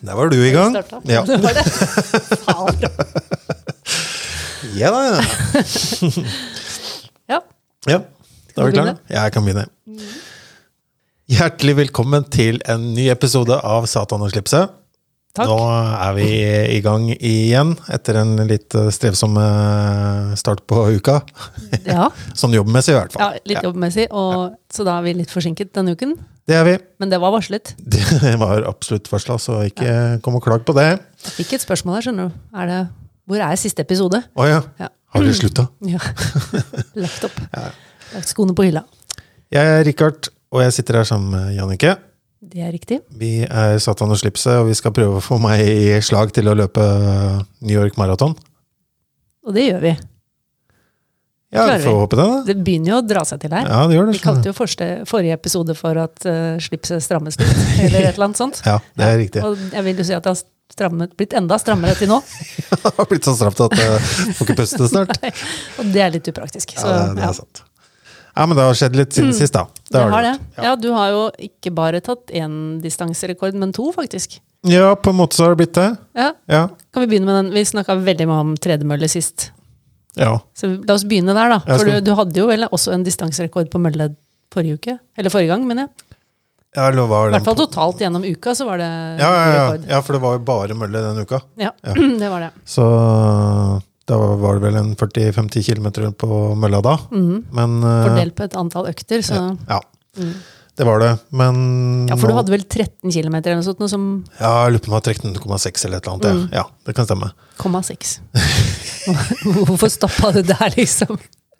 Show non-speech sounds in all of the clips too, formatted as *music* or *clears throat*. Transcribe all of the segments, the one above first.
Der var du i gang. starta. Ja. *laughs* Det var det. Faen, bra. Ja, da, ja. Ja. ja. Da er du vi klare? begynne? Mm. Ja, jeg kan begynne. Hjertelig velkommen til en ny episode av Satan og slipset. Takk. Nå er vi i gang igjen etter en litt eh, strevsom eh, start på uka. ja. Sånn jobbmessig, i hvert ja fall. litt jobbmessig, og, så da er vi litt forsinket denne uken. Det er vi. *laughs* Men det var varslet. Det var absolutt varsla, så ikke kom og klag på det. Ikke et spørsmål her, skjønner du. Er det, hvor er siste episode? Å ja. Ja. Har dere slutta? *laughs* Ja. Lagt opp. Lagt skoene på hylla. Jeg er Richard, og jeg sitter her sammen med Jannicke. Det er riktig. Vi er Satan og Slipset, og vi skal prøve å få meg i slag til å løpe New York Marathon. Og det gjør vi. Ja, Klarer vi får vi. håpe det, da. Det begynner jo å dra seg til her. Ja, det gjør det. Vi kalte jo første, forrige episode for at eh, slipset *laughs* strammes litt, eller et eller annet sånt. Ja, det er riktig. *laughs* Og jeg vil jo si at det har strammet, blitt enda strammere til nå. Det har blitt så stramt at jeg får ikke *laughs* puste snart. Og det er litt upraktisk. Så, Ja, det ja. Mm. er sant. Ja, men det har skjedd litt siden sist, da. Det har det. gjort. Ja, du har jo ikke bare tatt én distanserekord, men to, faktisk. Ja, på en måte så har det blitt det. Ja, Ja. kan Vi begynne med den? Vi snakka veldig mye om tredemølle sist. ja. Så la oss begynne der, da. Ja, For du, skal- du hadde jo vel også en distanserekord på mølle forrige uke? Eller forrige gang, mener jeg. Ja, eller hva I var den hvert fall på- totalt gjennom uka, så var det Ja, ja, ja. rekord. ja, for det var jo bare mølle den uka. Ja, Ja. *clears throat* det var det. Så da var det vel en 40-50 km på mølla da. Mhm. Men eh, Fordelt på et antall økter, så Ja, Mm. det var det. Men Ja, for du nå- hadde vel 13 km eller noe sånt, noe som Ja, jeg lurer på om det var 13,6 eller et eller annet. Mm. Ja. ja, det kan stemme. *laughs* 0,6. Hvorfor stoppa du der, liksom?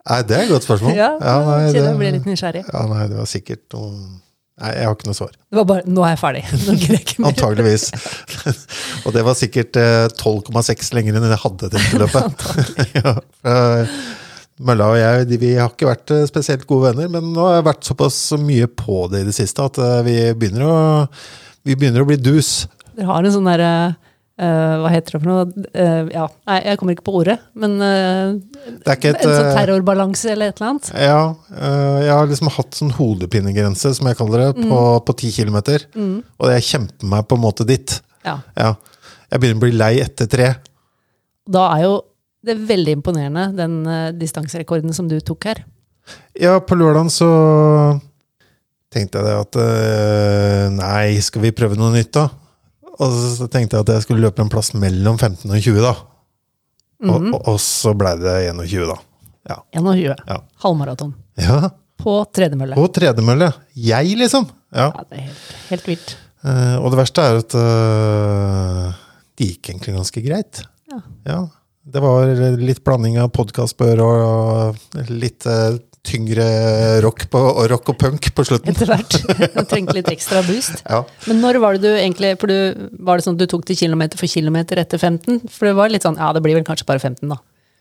Nei, det er et godt spørsmål. Ja, nei, kjenner det, jeg ble litt nysgjerrig. ja, nei, det var sikkert noen Nei, jeg har ikke noe svar. Det var bare 'nå er jeg ferdig'. Nå gidder jeg ikke mer. *laughs* Antageligvis. Og det var sikkert eh, 12,6 lenger enn jeg hadde til *laughs* løpet. *laughs* ja, for, eh, Mølla og jeg de, vi har ikke vært eh, spesielt gode venner, men nå har jeg vært såpass mye på det i det siste at eh, vi begynner å, vi begynner å bli dus. Dere har en sånn derre Hva heter det for noe? Eh, ja, Nei, jeg kommer ikke på ordet. Men eh, Det er ikke et en sånn eh, terrorbalanse eller et eller annet. Ja, øh, jeg har liksom hatt sånn hodepinegrense, som jeg kaller det, på, på 10 kilometer. Og jeg kjemper meg på en måte dit. Ja. Ja. Jeg begynner å bli lei etter tre. Da er jo det er veldig imponerende, den eh, distanserekorden som du tok her. Ja, på lørdagen så tenkte jeg det at øh, Nei, skal vi prøve noe nytt, da? Og så så tenkte jeg at jeg skulle løpe en plass mellom 15 og 20, da. Og, og, og så blei det 21, da. 21. Ja. Halvmaraton. Ja, På tredemølle. På tredemølle. Jeg, liksom. Ja. Ja, det er helt, helt vilt. Eh, og det verste er at eh, det gikk egentlig ganske greit. Ja. Det var litt blanding av podkastbør og, og litt eh, tyngre rock, på, og rock og punk på slutten. Etter hvert. *laughs* Jeg trengte litt ekstra boost. Ja. Men når var det du egentlig for du, Var det sånn at du tok det kilometer for kilometer etter 15? For det var litt sånn Ja, det blir vel kanskje bare 15, da.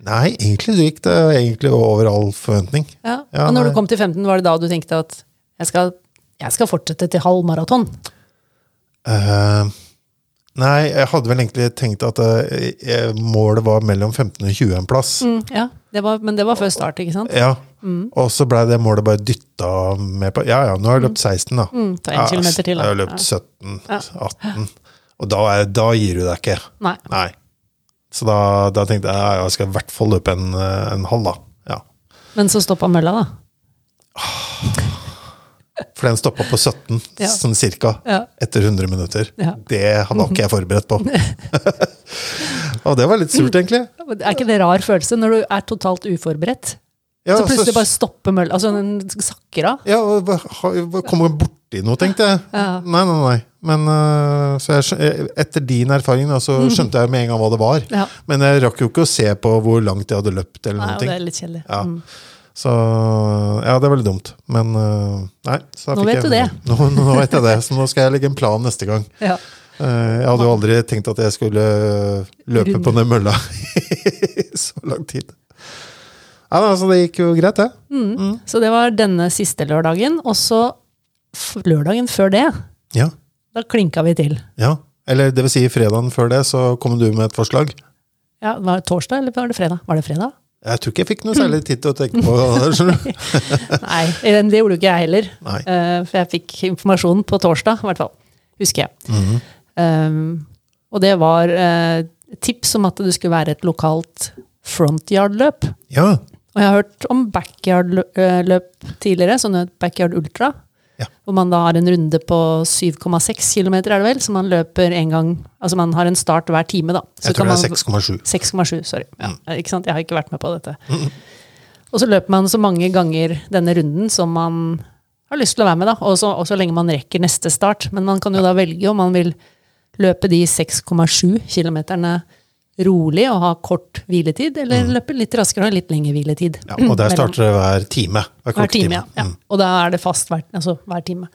Nei, egentlig så gikk det egentlig over all forventning. Ja. Ja, og når nei. du kom til 15, var det da du tenkte at jeg skal, jeg skal fortsette til halv maraton? Eh, nei, jeg hadde vel egentlig tenkt at eh, eh, målet var mellom 15 og 20 en plass. Mm, Ja, det var, men det var før start, ikke sant? Ja. Og så blei det målet bare dytta med på Ja ja, nå har jeg løpt 16, da. Mm, ta en Ja, kilometer til, Jeg da. har løpt 17, 18. Og da, er, da gir du deg ikke. Nei. Nei. Så da, da tenkte jeg ja, jeg skal i hvert fall løpe en, eh, en halv, da. Ja. Men så stoppa mølla, da. For den stoppa på 17, Ja. sånn cirka, Ja. etter 100 minutter. Ja. Det var ikke jeg forberedt *laughs* på. Og det var litt surt, egentlig. Er ikke det rar følelse når du er totalt uforberedt? Ja, så plutselig bare stopper mølla, altså den sakker av. Ja, og hva- ha- hva- kom jeg borti noe, tenkte jeg. Ja. Nei, nei, nei. Men øh, så jeg, skjø- etter din erfaring da, Mm. så skjønte jeg med en gang hva det var. Ja. Men jeg rakk jo ikke å se på hvor langt jeg hadde løpt eller Nei, noen og det ting. er litt kjedelig. Ja. Mm. Så ja, det var litt dumt. Men øh, nei. Så da Nå fikk jeg, vet du det. *laughs* Nå, nå, nå vet jeg det, så nå skal jeg legge en plan neste gang. Ja. Eh, Jeg hadde jo aldri tenkt at jeg skulle eh, løpe Runde. på den mølla *laughs* i så lang tid. Ja, da, så det gikk jo greit, det. Så det var denne siste lørdagen, og så f- lørdagen før det, Ja. da klinka vi til. Ja, eller det vil si fredagen før det, så kom du med et forslag. Ja, var det torsdag, eller var det fredag? Var det *laughs* fredag? Jeg tror ikke jeg fikk noe særlig tid til å tenke på *laughs* det. skjønner du? Nei, det gjorde jo ikke jeg heller. Nei. Mhm. Eh, for jeg fikk informasjonen på torsdag, i hvert fall. Husker jeg. Um, Og det var eh, tips om at det skulle være et lokalt frontyard-løp. Ja. Og jeg har hørt om backyard-løp tidligere, sånn et backyard ultra. Ja. Hvor man da har en runde på 7,6 km, er det vel? Så man løper en gang Altså man har en start hver time, da. Så Jeg tror kan det man- er 6,7. 6,7, sorry. Ja, Mm. ikke sant? Jeg har ikke vært med på dette. Og så løper man så mange ganger denne runden som man har lyst til å være med, da. Og så, og så lenge man rekker neste start. Men man kan jo da velge om man vil løpe de 6,7 kilometerne rolig og ha kort hviletid, eller løpe litt raskere og ha litt lengre hviletid. Mm. Ja, og *clears throat* der starter det hver time. Hver, Hver klokketime. time, ja. ja. Mm. Og da er det fast hver, altså, hver time.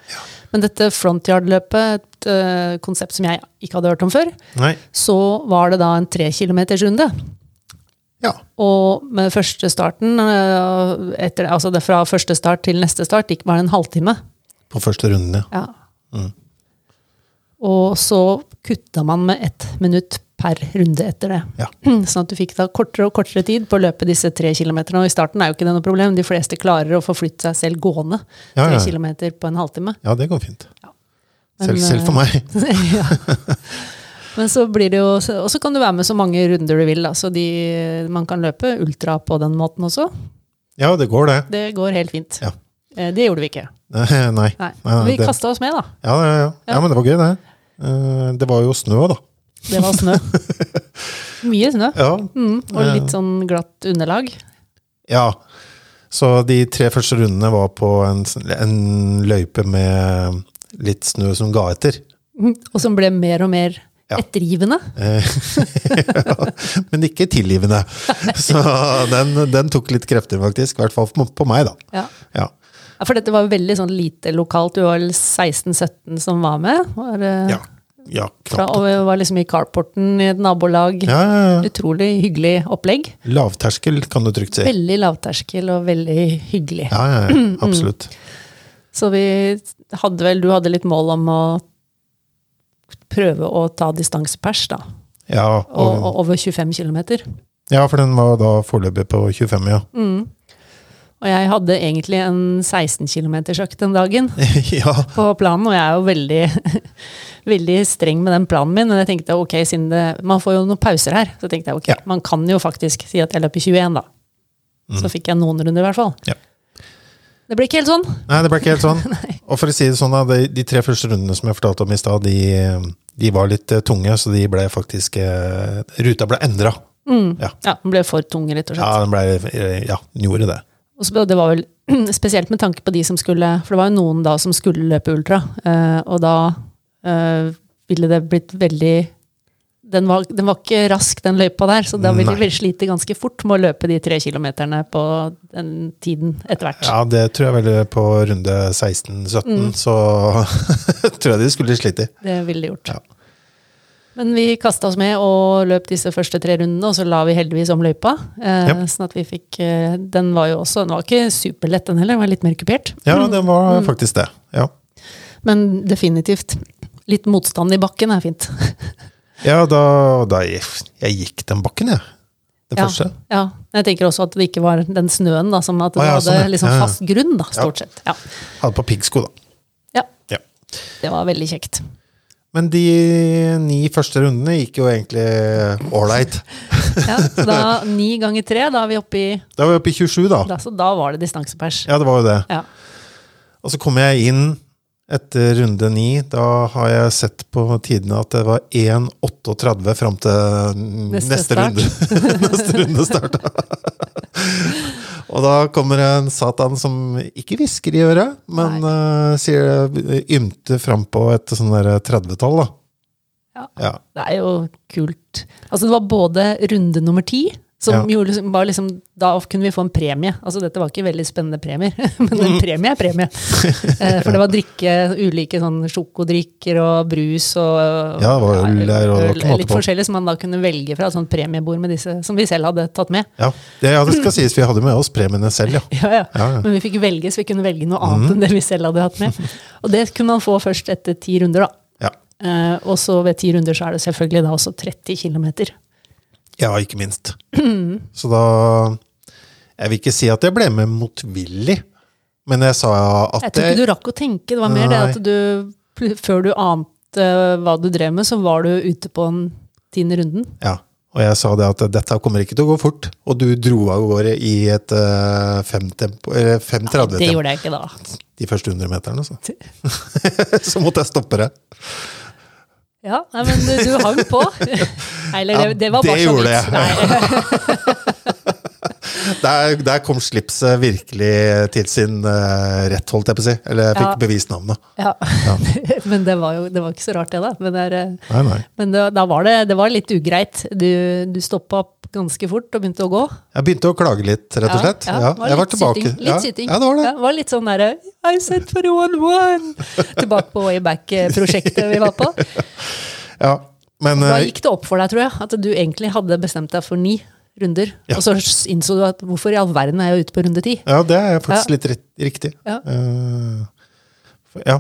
Men dette frontyard-løpet, et eh, konsept som jeg ikke hadde hørt om før, Nei. så var det da en tre kilometers runde. Ja. Og med første starten, øh, etter, altså det fra første start til neste start, gikk bare en halvtime. På første runden, ja. Ja. Mm. Og så kutta man med ett minutt per runde etter det. Ja. *clears throat* Sånn at du fikk da kortere og kortere tid på å løpe disse tre kilometerne. Og i starten er jo ikke det noe problem, de fleste klarer å forflytte seg selv gående Ja, ja, tre ja. kilometer på en *laughs* halvtime. Ja, det går fint. Ja. Men, Selv, selv for meg. ja. Men så blir det jo Og så kan du være med så mange runder du vil. Da. Så de, man kan løpe ultra på den måten også. Ja, det går, det. Det går helt fint. Ja. Eh, Det gjorde vi ikke. Nei. Nei. Nei. nei, vi det- kasta oss med, da. Ja, ja, ja. ja, men det var gøy, det. Eh, Det var jo snø, da. Det *laughs* var snø. Mye snø. Ja. Mm, og litt sånn glatt underlag. ja. Så de tre første rundene var på en, s- en løype med litt snø som ga etter. Mm, Og som ble mer og mer Ja. ettergivende. Eh, *laughs* Men ikke tilgivende. Så den, den tok litt krefter, faktisk. I hvert fall på på meg, da. Ja. Ja. Ja, For dette var veldig sånn lite lokalt. Du var vel 16-17 som var med. Var, eh, Ja, ja fra, knapt. og vi var liksom i carporten i et nabolag. Ja, ja, ja. Utrolig hyggelig opplegg. Lavterskel, kan du trygt si. Veldig lavterskel og veldig hyggelig. Ja, ja, ja. Absolutt. Så vi hadde vel Du hadde litt mål om å prøve å ta distansepers, da. Ja, Og, og, og over 25 km. ja, for den var da foreløpig på 25, ja. Og jeg hadde egentlig en 16 km-økt den dagen *laughs* ja. på planen, og jeg er jo veldig, *laughs* veldig streng med den planen min. Men jeg tenkte ok, siden det, man får jo noen pauser her, så tenkte jeg ok, Ja. man kan jo faktisk si at jeg løper 21, da. Så fikk jeg noen runder, i hvert fall. Mm. Ja. Det ble ikke helt sånn. Nei, det ble ikke helt sånn. Og for å si det sånn, da, de, de tre første rundene som jeg fortalte om i stad, de, de var litt eh, tunge, så de ble faktisk eh, Ruta ble endra. Ja. Ja, Den ble for tung, rett og slett. ja, den ble eh, Ja, den gjorde det. Og så, det var vel *clears throat* spesielt med tanke på de som skulle For det var jo noen da som skulle løpe ultra, eh, og da eh, ville det blitt veldig den var, den var ikke rask, den løypa der, så da ville Nei. vi slite ganske fort med å løpe de tre kilometerne på den tiden etter hvert. Ja, det tror jeg vel på runde 16-17, så *laughs* tror jeg de skulle slite. Det ville de gjort. Ja. Men vi kasta oss med og løp disse første tre rundene, og så la vi heldigvis om løypa. Eh, Yep. Sånn at vi fikk eh, Den var jo også Den var ikke superlett, den heller, den var litt mer kupert. Ja, det var faktisk det. Ja, Men definitivt. Litt motstand i bakken er fint. ja da, da jeg, jeg gikk den bakken, jeg. Den Ja, første. ja. Jeg tenker også at det ikke var den snøen, da, som at det Å, ja, hadde sånn, ja. liksom Ja, ja. fast grunn, da, stort sett. Ja. Hadde på piggsko, da. ja, Ja. det var veldig kjekt. Men de ni første rundene gikk jo egentlig ålreit. Ja, så da *laughs* ni ganger tre, da er vi oppe i Da var vi oppe i 27, da. da, Så da var det distansepers. Ja, det var jo det. Ja. Og så kommer jeg inn etter runde ni. Da har jeg sett på tidene at det var 1,38 fram til neste, Neste start. runde. *laughs* neste runde *laughs* starta. Og da kommer en satan som ikke hvisker i øret, men eh, sier det ymte fram på et sånn der 30-tall, da. Ja. Ja. Det er jo kult. Altså, det var både runde nummer ti, som Ja. gjorde liksom, var liksom Da kunne vi få en premie. Altså, dette var ikke veldig spennende premier, *laughs* men Mm. en premie er premie. Eh, For det var drikke, ulike sånn sjokodrikker og brus og Ja, det var øl der, og det var ikke måte Litt på. forskjellig som man da kunne velge fra. Sånn premiebord med disse som vi selv hadde tatt med. *laughs* ja. Det, ja, det skal sies, vi hadde med oss premiene selv, ja. Ja, ja. Ja, Mm. ja. Men vi fikk velge, så vi kunne velge noe annet enn det vi selv hadde *laughs* hatt med. Og det kunne man få først etter ti runder, da. Ja, Eh, og så ved ti runder så er det selvfølgelig da også 30 km. ja ikke minst. *clears throat* Så da Jeg vil ikke si at jeg ble med motvillig, men jeg sa at Jeg tror ikke du rakk å tenke, det var mer det Nei. at du pl- Før du ante eh, hva du drev med, så var du ute på den tiende runden. Ja, og jeg sa det at dette kommer ikke til å gå fort, og du dro av gårde i et eh, 5.30-tempo. Det gjorde jeg ikke da. *laughs* de første 100 meterne, så. *laughs* så måtte jeg stoppe det. Ja, nei, men du, du hang *laughs* på. Nei, Eller Ja, det, det var det bare sånn gjorde vits. jeg. *laughs* Nei, Der, der kom slipset virkelig til sin eh, rett, holdt jeg på å si. Eller jeg fikk Ja. bevist navnet. ja. *laughs* Men det var jo det var ikke så rart, det, da. Men, det er, eh, Nei, nei. men det, da var det, det var litt ugreit. Du, du stoppa opp ganske fort og begynte å gå. Jeg begynte å klage litt, rett og slett. Ja, det var jeg var litt tilbake. Sitting, litt ja. sitting. Ja, det var det. Ja, det var litt sånn derre I said for one one! Tilbake på Wayback-prosjektet vi var på. Ja. Men Da eh, gikk det opp for deg, tror jeg, at du egentlig hadde bestemt deg for ni runder. Ja. Og så innså du at hvorfor i all verden er jeg ute på runde ti? ja, det er faktisk Ja. litt ritt- riktig. Ja. Eh, for- ja.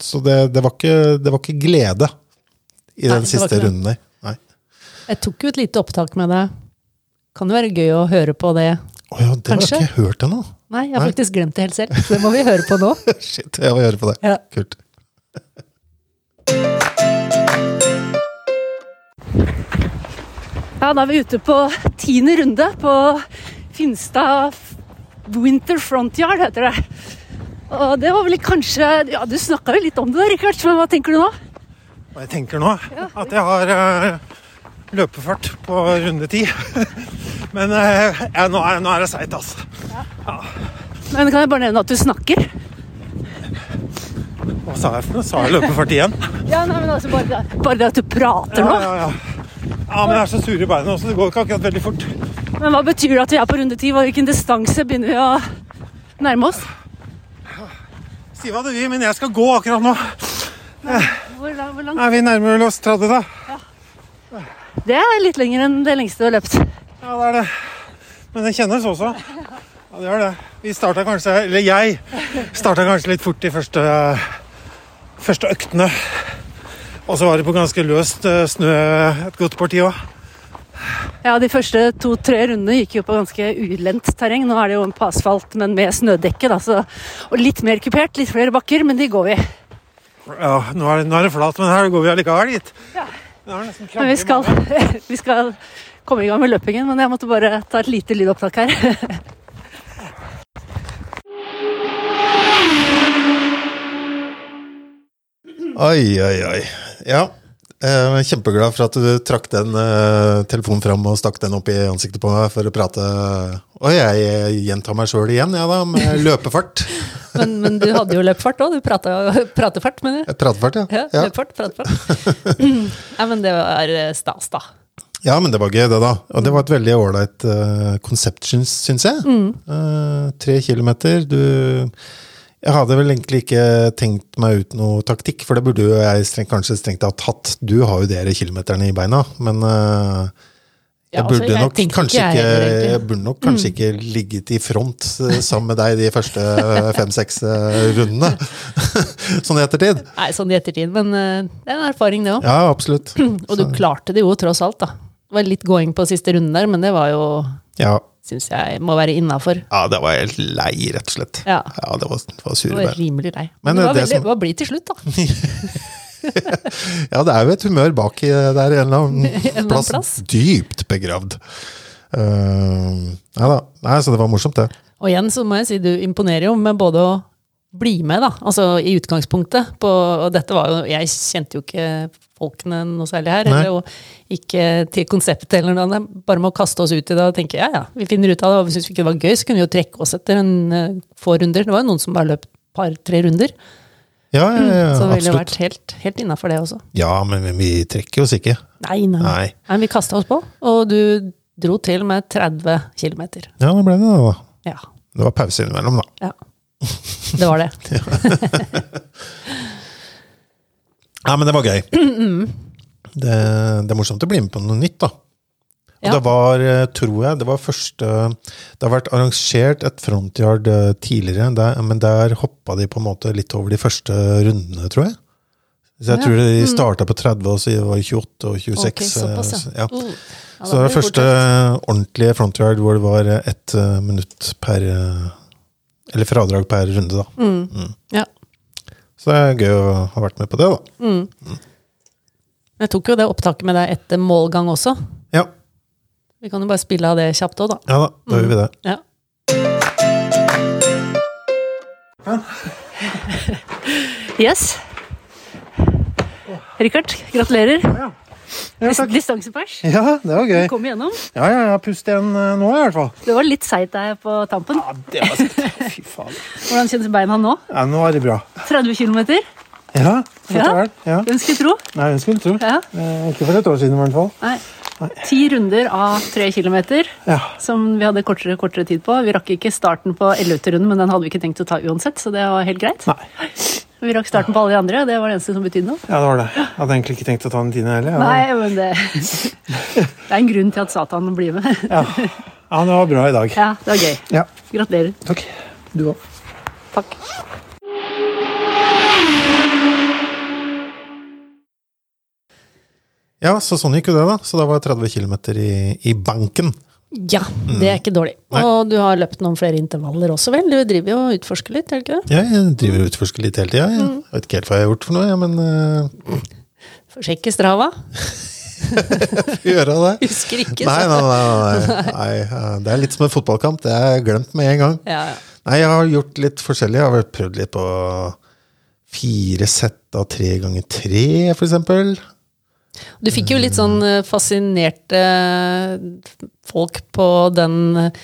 Så det, det, var ikke, det var ikke glede i Nei, den det var siste ikke det. runden der. Nei. Jeg tok jo et lite opptak med deg. Kan det være gøy å høre på det? Å ja, det Kanskje? har jeg ikke hørt ennå. *laughs* Nei, jeg har Nei. faktisk glemt det helt selv. Så det må vi høre *laughs* på nå. Shit, jeg må høre på det. Ja. Kult. Ja, da er vi ute på tiende runde på Finstad Winter Frontyard, heter det. Og det var vel kanskje Ja, du snakka jo litt om det, da, Rikard, men hva tenker du nå? Og jeg tenker nå at jeg har eh, løpefart på runde ti. *laughs* Men eh, ja, nå, er, nå er det seigt, altså. Men kan jeg bare nevne at du snakker? Hva sa jeg for noe? Sa jeg løpefart igjen? Ja, nei, men altså bare, bare det at du prater Ja, nå. ja, ja. ja men jeg er så sur i beina også, det går ikke akkurat veldig fort. Men hva betyr det at vi er på runde ti? Hva- Hvilken distanse begynner vi å nærme oss? Si hva du vil, men jeg skal gå akkurat nå. Hvor, la- hvor langt? Er vi nærmer vel oss 30, da? Det er litt lenger enn det lengste du har løpt. Ja, det er det. Men det kjennes også. Ja, det gjør det. Vi starta kanskje, eller jeg starta kanskje litt fort de første, første øktene. Og så var det på ganske løst eh, snø et godt parti òg. Ja, De første to-tre rundene gikk jo på ganske ulendt terreng. Nå er det jo på asfalt, men med snødekke. Da, så, og litt mer kupert, litt flere bakker, men de går vi. Ja, nå er, det, nå er det flat, men her går vi allikevel dit. Ja. Det er nesten Men krampe vi i skal, *laughs* magen. vi skal komme i gang med løpingen, men jeg måtte bare ta et lite lydopptak her. Oi, oi, oi. Ja. Jeg er kjempeglad for at du trakk den eh, telefonen fram og stakk den opp i ansiktet på meg for å prate. Og jeg eh, gjentar meg sjøl igjen, jeg da, med *laughs* løpefart. *laughs* Men, men du hadde jo løpfart òg. Du prata *laughs* pratefart, mener du? Pratefart, ja. Ja, ja. Løpfart, pratefart. *clears throat* Nei, men det var eh, stas, da. Ja, men det var gøy, det, da. Og det var Mm. et veldig ålreit eh, konsept, syns syns jeg. Eh, tre kilometer. Du Jeg hadde vel egentlig ikke tenkt meg ut noe taktikk, for det burde jo jeg strengt, kanskje strengt tatt hatt. Du har jo dere kilometerne i beina, men eh, Ja, Jeg altså, burde, nok, tenkte kanskje jeg ikke, heller, jeg, egentlig. Mm. burde nok kanskje ikke ligget i front eh, sammen med deg de første *laughs* fem-seks rundene, *laughs* sånn i ettertid. Nei, sånn i ettertid, men eh, det er en erfaring, det òg. Ja, absolutt. Og du klarte det jo tross alt, da. Det var litt gåing på siste runden der, men det var jo Ja, Syns jeg må være innafor. ja det var helt lei, rett og slett. Ja. Ja, det var, det var Det sure var bein. rimelig lei. Men Men det var, det veldig, som- det var blid til slutt, da. Ja, det er jo et humør bak i eh, der, en eller *laughs* annen annen plass. plass. Dypt begravd. Eh, nei da. Nei, så det var morsomt, det. Og igjen så må jeg si du imponerer jo med både å bli med, da, altså i utgangspunktet på Og dette var jo Jeg kjente jo ikke folkene noe særlig her, Nei. eller jo ikke til konseptet eller noe annet. Bare med å kaste oss ut i det og tenke ja ja, vi finner ut av det. Og syns vi ikke det var gøy, så kunne vi jo trekke oss etter en eh, få runder. Det var jo noen som bare løp par-tre runder. Ja, ja, ja, Mm, Så det ville absolutt. vært helt, helt innafor det også. Ja, men vi- vi trekker oss ikke. Nei, nei. nei. Nei. men vi kasta oss på, og du dro til med 30 km. Ja, det ble det, da. Ja, Det var pause innimellom, da. ja. Det var *laughs* det. Nei, men det var *clears throat* gøy. Det, det er morsomt å bli med på noe nytt, da. Og Ja. det var, eh, tror jeg, det var første Det har vært arrangert et frontyard eh, tidligere, der, men der hoppa de på en måte litt over de første rundene, tror jeg. Så jeg Ja. Mm. tror de starta på 30, og så var det 28 og 26. Ok, såpass, eh, så- ja. ja. Uh, Så ja, da det var blir første ordentlige frontyard hvor det var eh, ett eh, Mm. minutt per eh, Eller fradrag per runde, da. fort. Ja. Så det er gøy å ha vært med på det, da. Men Jeg tok jo det opptaket med deg etter målgang også. Ja, Vi kan jo bare spille av det kjapt òg, da. ja da, da gjør vi det. Ja. Yes. Rikard, gratulerer. Ja, takk. Distansepers. Ja, det var Eh. gøy. Kom igjennom. Ja, ja, jeg har pustet igjen eh, nå, i hvert fall. Det var litt seigt der på tampen. Ja, det var sikkert. *laughs* Fy faen. Hvordan kjennes beina nå? Ja, nå er det bra. 30 km? Ja, dette Ja. er det. Ja. Hvem skulle tro? Nei, jeg skulle tro. Ja. Eh, Ikke for et år siden, i hvert fall. Nei. Ti runder av tre kilometer, Ja. som vi hadde kortere og kortere tid på. Vi rakk ikke starten på Ellevte-runden, men den hadde vi ikke tenkt å ta uansett, så det var helt greit. Nei. Vi rakk starten på alle de andre, og det var det eneste som betydde noe. Ja, det var det. Jeg hadde egentlig ikke tenkt å ta den tiende heller. Jeg Nei, men det Det er en grunn til at Satan blir med. Ja. ja, det var bra i dag. Ja, det var gøy. Ja, Gratulerer. takk. Du òg. Takk. Ja, så sånn gikk jo det, da. Så da var jeg 30 km i, i banken. Ja, det er ikke dårlig. Nei. Og du har løpt noen flere intervaller også, vel? Du driver jo og utforsker litt, gjør du ikke det? Jeg driver og utforsker litt hele tida. Jeg Mm. vet ikke helt hva jeg har gjort for noe, jeg, men eh, Får sjekke Strava. får gjøre det. Husker *laughs* ikke, Nei, så nei, nei, *laughs* nei. nei. eh, Det er litt som en fotballkamp. Det er glemt med en gang. ja, ja. Nei, jeg har gjort litt forskjellig. Jeg har vel prøvd litt på fire sett av tre ganger tre, for eksempel. Du fikk jo litt sånn eh, fascinerte eh, folk på den eh,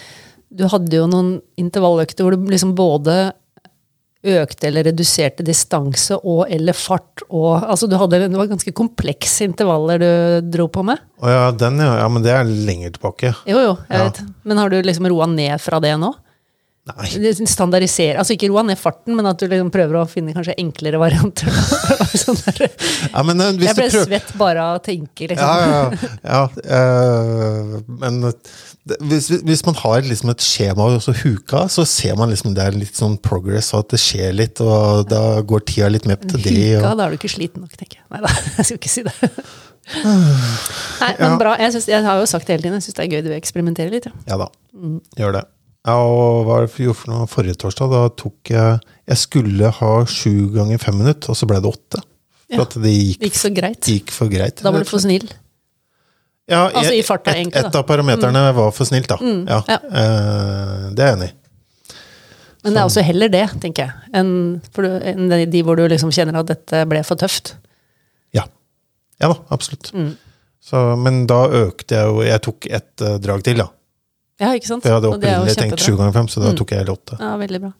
Du hadde jo noen intervalløkter hvor du liksom både økte eller reduserte distanse og eller fart og Altså du hadde Det var ganske komplekse intervaller du dro på med. Å ja, den, ja. ja. Men det er lenger tilbake. Jo, jo, jeg Ja. vet. Men har du liksom roa ned fra det nå? Nei. Standardisere Altså ikke roa ned farten, men at du liksom prøver å finne kanskje enklere varianter. *laughs* sånn der. Ja, men eh, hvis Jeg ble du prøver svett bare av å tenke, liksom. Ja, ja, ja. eh, men det, hvis, hvis man har liksom et skjema og så huka, så ser man liksom det er litt sånn progress, og at det skjer litt, og da går tida litt med til det. Huka, Og, da er du ikke sliten nok, tenker jeg. Nei da, *laughs* jeg skal ikke si det. Nei, men bra. Jeg, synes, jeg har jo sagt det hele tiden, jeg syns det er gøy du eksperimenterer litt. Ja. ja da, gjør det. Ja, og hva gjorde for noe forrige torsdag? Da tok jeg Jeg skulle ha sju ganger fem minutter, og så ble det åtte. For Ja. at det gikk, Det gikk så greit. gikk for greit. Da var du for snill. Ja, Altså, i farta, et, egentlig, da. Mm. Et av parameterne var for snilt, da. Ja. ja. Eh, det er jeg enig i. Men det er Sånn. også heller det, tenker jeg, enn for du- enn de- de hvor du liksom kjenner at dette ble for tøft. Mm. Ja. Ja da, absolutt. Så, men da økte jeg jo Jeg tok ett eh, drag til, da. Ja, ikke sant? For jeg hadde Og det er jo opprinnelig tenkt sju kjempebra. ganger fem, så da tok jeg hele åtte. Ja, veldig bra.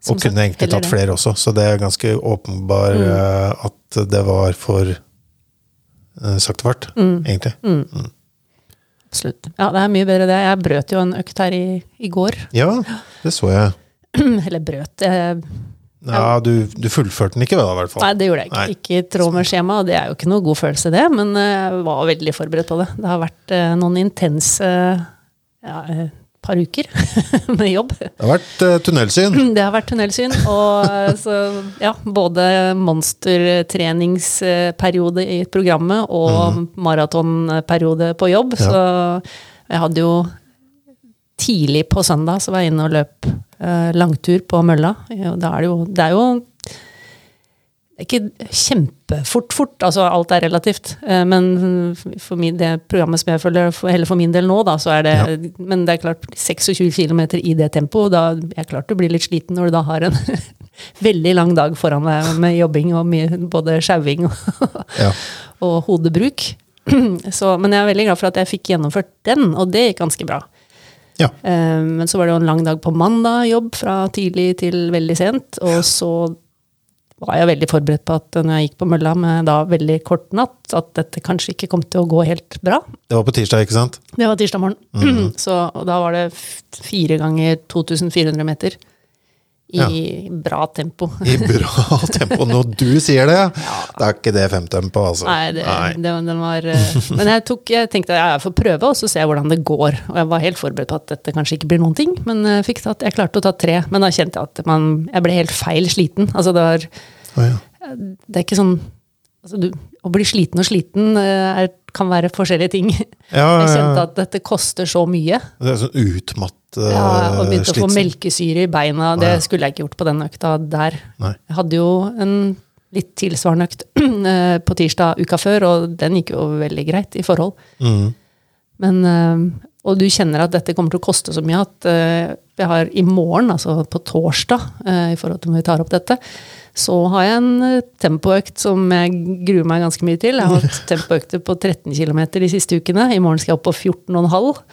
Som Og sagt, kunne egentlig heller tatt det. Mm. flere også, så det er ganske åpenbar eh, at det var for eh, sakte fart, egentlig. Mm, Absolutt. Ja, det er mye bedre det. Jeg brøt jo en økt her i, i går. *clears throat* Ja, det så jeg. Eller brøt jeg, Ja, du, du fullførte den ikke, da, i hvert fall. Nei, det gjorde jeg ikke. Nei. Ikke i tråd med skjema, og det er jo ikke noe god følelse, det. Men eh, jeg var veldig forberedt på det. Det har vært eh, noen intense ja, eh, par uker *laughs* med jobb. Det har vært eh, tunnelsyn. Det har vært tunnelsyn, og eh, så ja, både monstertreningsperiode i programmet og maratonperiode på jobb. Mhm. Ja. Så jeg hadde jo tidlig på søndag så var jeg inne og løp eh, langtur på mølla. Og da er det jo Det er jo det er ikke kjempefort fort, altså alt er relativt. Eh, Men for min, det programmet som jeg følger, for, heller for min del nå, da, så er det Men det er klart, 26 km i det tempoet, da er klart du blir litt sliten når du da har en *laughs* veldig lang dag foran deg med jobbing og mye, både sjauing og, Ja. og hodebruk. *clears throat* Så, men jeg er veldig glad for at jeg fikk gjennomført den, og det gikk ganske bra. ja. Eh, Men så var det jo en lang dag på mandag, jobb fra tidlig til veldig sent. Og så var jeg veldig forberedt på at når jeg gikk på mølla med da veldig kort natt, at dette kanskje ikke kom til å gå helt bra. Det var på tirsdag, ikke sant? Det var tirsdag morgen. *clears throat* så, og da var det f- fire ganger 2400 meter i bra tempo. I bra *laughs* tempo. Når du sier det, det er ikke det femtempo, altså. Nei, det, Det, den var eh, Men jeg, tok, jeg tenkte ja, jeg får prøve, og så ser jeg hvordan det går. Og jeg var helt forberedt på at dette kanskje ikke blir noen ting, men jeg, fikk tatt, jeg klarte å ta tre. Men da kjente jeg at man, jeg ble helt feil sliten. Altså det var Å, ja. Det er ikke sånn altså du, Å bli sliten og sliten eh, er, kan være forskjellige ting. Ja, ja, Jeg kjente ja. at dette koster så mye. Det er sånn utmatt eh, Ja, og begynte å få slitsom. melkesyre i beina. Det Nei. skulle jeg ikke gjort på den økta der. Nei. Jeg hadde jo en litt tilsvarende økt *clears throat* eh, på tirsdag uka før, og den gikk jo veldig greit i forhold. Mm. Men, eh, og du kjenner at dette kommer til å koste så mye at eh, jeg har i morgen, altså på torsdag, eh, i forhold til når vi tar opp dette, så har jeg en eh, tempoøkt som jeg gruer meg ganske mye til. Jeg har hatt tempoøkter på 13 km de siste ukene. I morgen skal jeg opp på 14,5.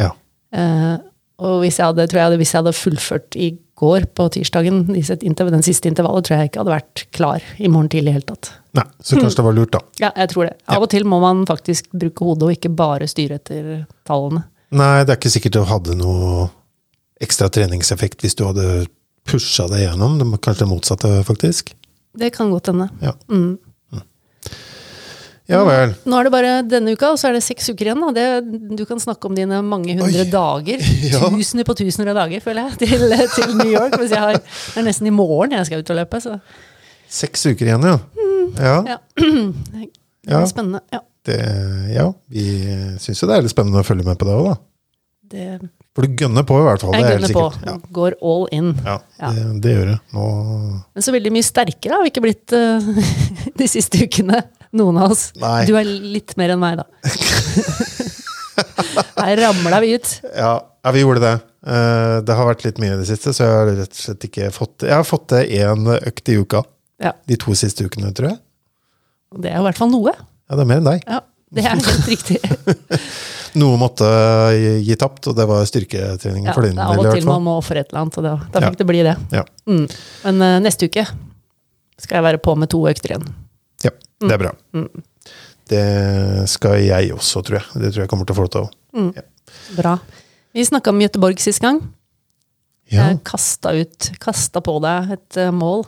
Ja. Eh, og hvis jeg hadde, tror jeg hadde, hvis jeg hadde fullført i går på tirsdagen, disse interv- den siste intervallet, tror jeg ikke hadde vært klar i morgen tidlig i hele tatt. Nei, så kanskje det var lurt, da. Ja, jeg tror det. Av og til må man faktisk bruke hodet og ikke bare styre etter tallene. Nei, det er ikke sikkert det hadde noe ekstra treningseffekt hvis du hadde pusha deg gjennom. Det må- Kanskje det motsatte, faktisk. Det kan godt hende. Ja. Mm. ja vel. Nå er det bare denne uka, og så er det seks uker igjen. Da. Det, du kan snakke om dine mange hundre Oi. dager. *laughs* Ja. Tusener på tusener av dager, føler jeg, til, til New York. Hvis jeg har, det er nesten i morgen jeg skal ut og løpe, så Seks uker igjen, ja. Ja, ja. *clears throat* Det Ja. blir spennende. Ja, det, ja vi syns jo det er litt spennende å følge med på det òg, da. det, For du gønner på, i hvert fall. jeg det er helt gunner på. sikkert. Ja. Går all in. Ja, Ja. Det, det gjør det. Nå Men så veldig mye sterkere har vi ikke blitt eh, *laughs* de siste ukene, noen av oss. Nei. Du er litt mer enn *laughs* meg, da. Her ramla vi ut. ja, ja, vi gjorde det. Eh, Det har vært litt mye i det siste, så jeg har rett og slett ikke fått Jeg har fått til én økt i uka. Ja, De to siste ukene, tror jeg. og Det er jo i hvert fall noe. Ja, det er mer enn deg. Ja, det er helt *laughs* riktig. Noe måtte gi gi tapt, og det var styrketreningen Ja, for det din del. er av i og hvert til fall. man må ofre et eller annet, og da, da Ja. fikk det bli det. Ja. Mm. Men eh, neste uke skal jeg være på med to økter igjen. ja, det er bra. Mm. Det skal jeg også, tror jeg. Det tror jeg kommer til å få lov til. Mm. Bra. Vi snakka om Göteborg sist gang. Ja. Jeg kasta ut, kasta på deg et eh, mål.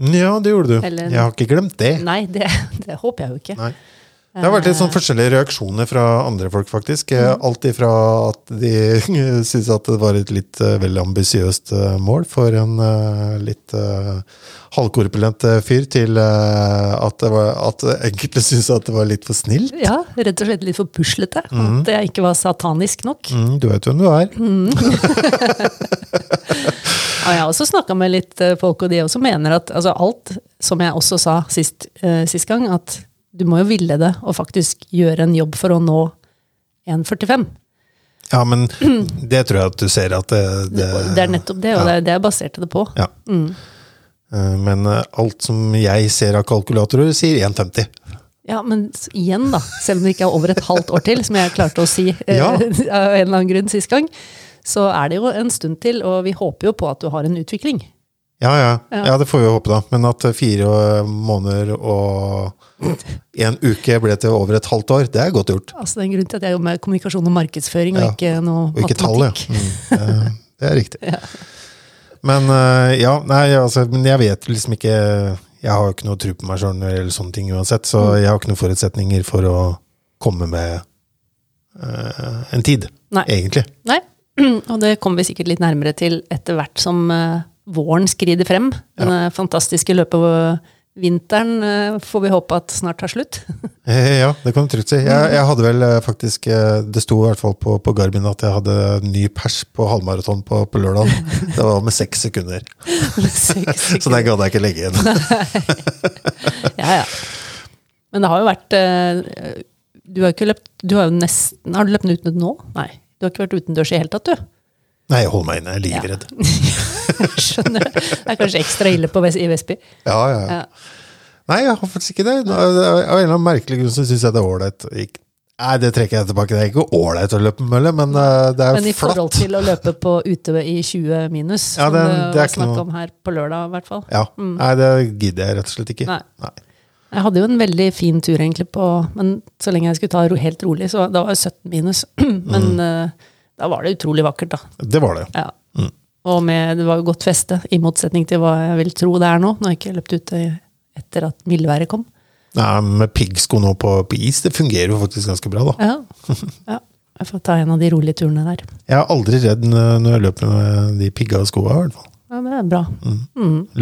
ja, det gjorde du. Eller- Jeg har ikke glemt det. *laughs* Nei, det, det håper jeg jo ikke. Nei. Det har vært litt Eh. sånn forskjellige reaksjoner fra andre folk, faktisk. Eh, Mm. Alt ifra at de *laughs* syntes at det var et litt eh, vel ambisiøst eh, mål for en eh, litt eh, halvkorpulent eh, fyr, til eh, at, det var, at enkelte *laughs* syntes at det var litt for snill. Eh, Ja, rett og slett litt for puslete. At jeg ikke var satanisk nok. Mhm. Mm, du vet hvem du er. Og jeg har også snakka med litt eh, folk, og de også mener at altså, alt, som jeg også sa sist, eh, sist gang, at du må jo ville det og faktisk gjøre en jobb for å nå 1,45. Ja, men det tror jeg at du ser at det, det, Og Det er Mm. nettopp det, og det er det jeg baserte det på. Ja. Eh, Men eh, alt som jeg ser av kalkulatorer, sier 1,50. Ja, men s- igjen, da. Selv om det ikke er over et halvt år til, som jeg klarte å si eh, Ja. *laughs* av en eller annen grunn sist gang, så er det jo en stund til, og vi håper jo på at du har en utvikling. Ja, ja. Ja. ja, det får vi jo håpe, da. Men at fire eh, måneder og *laughs* en uke ble til over et halvt år, det er godt gjort. Altså, det er en grunn til at jeg jobber med kommunikasjon og markedsføring, Ja. og ikke noe Og ikke tall, ja. matematikk. Mm, eh, det er riktig. Men eh, ja, nei, altså, men jeg vet liksom ikke Jeg har jo ikke noe tro på meg sjøl eller sånne ting uansett, så jeg har ikke noen forutsetninger for å komme med eh, en tid, Nei. egentlig. Nei, *clears throat* og det kommer vi sikkert litt nærmere til etter hvert som eh, våren skrider frem. Den eh, fantastiske løpevinteren eh, får vi håpe at snart tar *laughs* slutt. *laughs* Eh, Ja, det kan du trygt si. Jeg, jeg hadde vel eh, faktisk eh, Det sto i hvert fall på, på Garmin at jeg hadde ny pers på halvmaraton på, på lørdag. Det var med seks sekunder, Seks så den gadd jeg ikke legge inn. Ja, ja. Men det har jo vært eh, Du har jo ikke løpt Du har jo nesten Har du løpt uten nå? Nei. Du har ikke vært utendørs i det hele tatt, du? *laughs* Nei, hold meg inne. Jeg er livredd. Skjønner. Det er kanskje ekstra ille på Ves i Vestby. Ja, ja. ja. Ja. Nei, jeg har faktisk ikke det. Nå, Av av en eller annen merkelig grunn så syns jeg det er ålreit. Ikk- Nei, det trekker jeg tilbake. Det er ikke ålreit å løpe mølle, men eh, det er Men i forhold flatt. til å løpe på ute i 20 minus, Ja, som det- det, det er var ikke snakk noe- om her på lørdag, i hvert fall. Ja. Nei, det gidder jeg rett og slett ikke. Mm. Nei. Jeg hadde jo en veldig fin tur, egentlig, på Men så lenge jeg skulle ta ro helt rolig, så da var det 17 minus. *clears throat* Men Mm. eh, da var det utrolig vakkert, da. Det var det. Ja. Mm. Og med, det var jo godt feste, i motsetning til hva jeg vil tro det er nå, når jeg ikke har løpt ute etter at mildværet kom. Nei, Med piggsko nå på, på is, det fungerer jo faktisk ganske bra, da. Ja. *laughs* ja. Jeg får ta en av de rolige turene der. Jeg er aldri redd n- når jeg løper med de pigga skoa, i hvert fall. Ja, det er bra.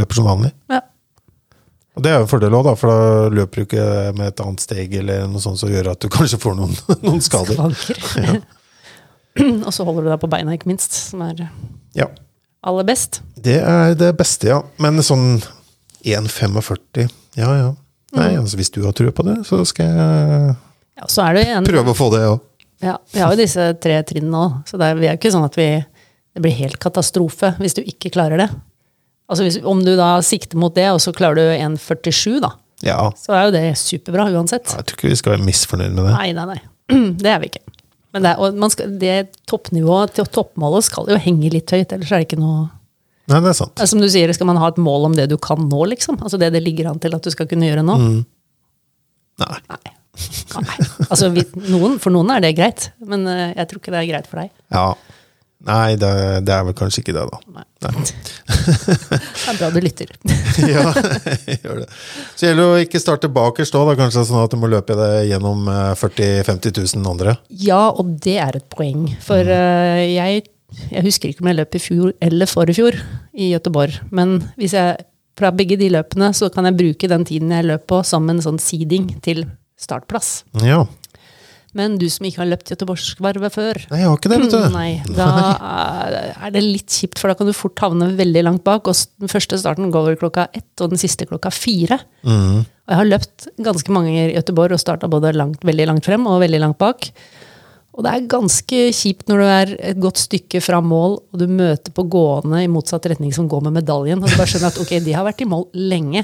Løper som vanlig. Ja. Og det er jo en fordel òg, da, for da løper du ikke med et annet steg eller noe sånt som gjør at du kanskje får noen, *laughs* noen skader. Vanker. *clears throat* og så holder du deg på beina, ikke minst, som er Ja, aller best. Det er det beste, ja. Men sånn 1,45 Ja, ja. Nei, Mm. altså, hvis du har trua på det, så skal jeg Ja, og så er det jo en, prøve å få det òg. ja, vi har jo disse tre trinnene nå, så det er, vi er jo ikke sånn at vi, det blir helt katastrofe hvis du ikke klarer det. Altså hvis, Om du da sikter mot det, og så klarer du 1,47, da, Ja. så er jo det superbra uansett. Jeg tror ikke vi skal være misfornøyd med det. Nei, nei, *clears throat* nei. Det er vi ikke. Men det, er- og man skal, det toppnivået til toppmålet skal jo henge litt høyt, ellers er det ikke noe Nei, det er sant. Altså, Som du sier, skal man ha et mål om det du kan nå, liksom? Altså det det ligger an til at du skal kunne gjøre nå? Nei. Nei. Nei. Altså, vi, noen, for noen er det greit, men eh, jeg tror ikke det er greit for deg. Ja. Nei, det, det er vel kanskje ikke det, *laughs* da. Nei. Det er bra du lytter. ja, *laughs* gjør det. Så gjelder det å ikke starte bakerst òg, kanskje sånn at du må løpe deg gjennom eh, 40 000-50 000 andre. Ja, og det er et poeng. For eh, jeg, jeg husker ikke om jeg løp i fjor eller for i fjor i Gøteborg. Men hvis jeg, fra begge de løpene så kan jeg bruke den tiden jeg løp på som en sånn seeding til startplass. Ja. Men du som ikke har løpt Gøteborgsvarvet før Nei, jeg har ikke det, vet du. Mm, *laughs* Nei, da er det litt kjipt, for da kan du fort havne veldig langt bak. Og s- den første starten går over klokka ett, og den siste klokka fire. Mm. Og jeg har løpt ganske mange ganger i Gøteborg og starta både langt, veldig langt frem og veldig langt bak. Og det er ganske kjipt når du er et godt stykke fra mål, og du møter på gående i motsatt retning som går med medaljen, og du bare skjønner at ok, de har vært i mål lenge.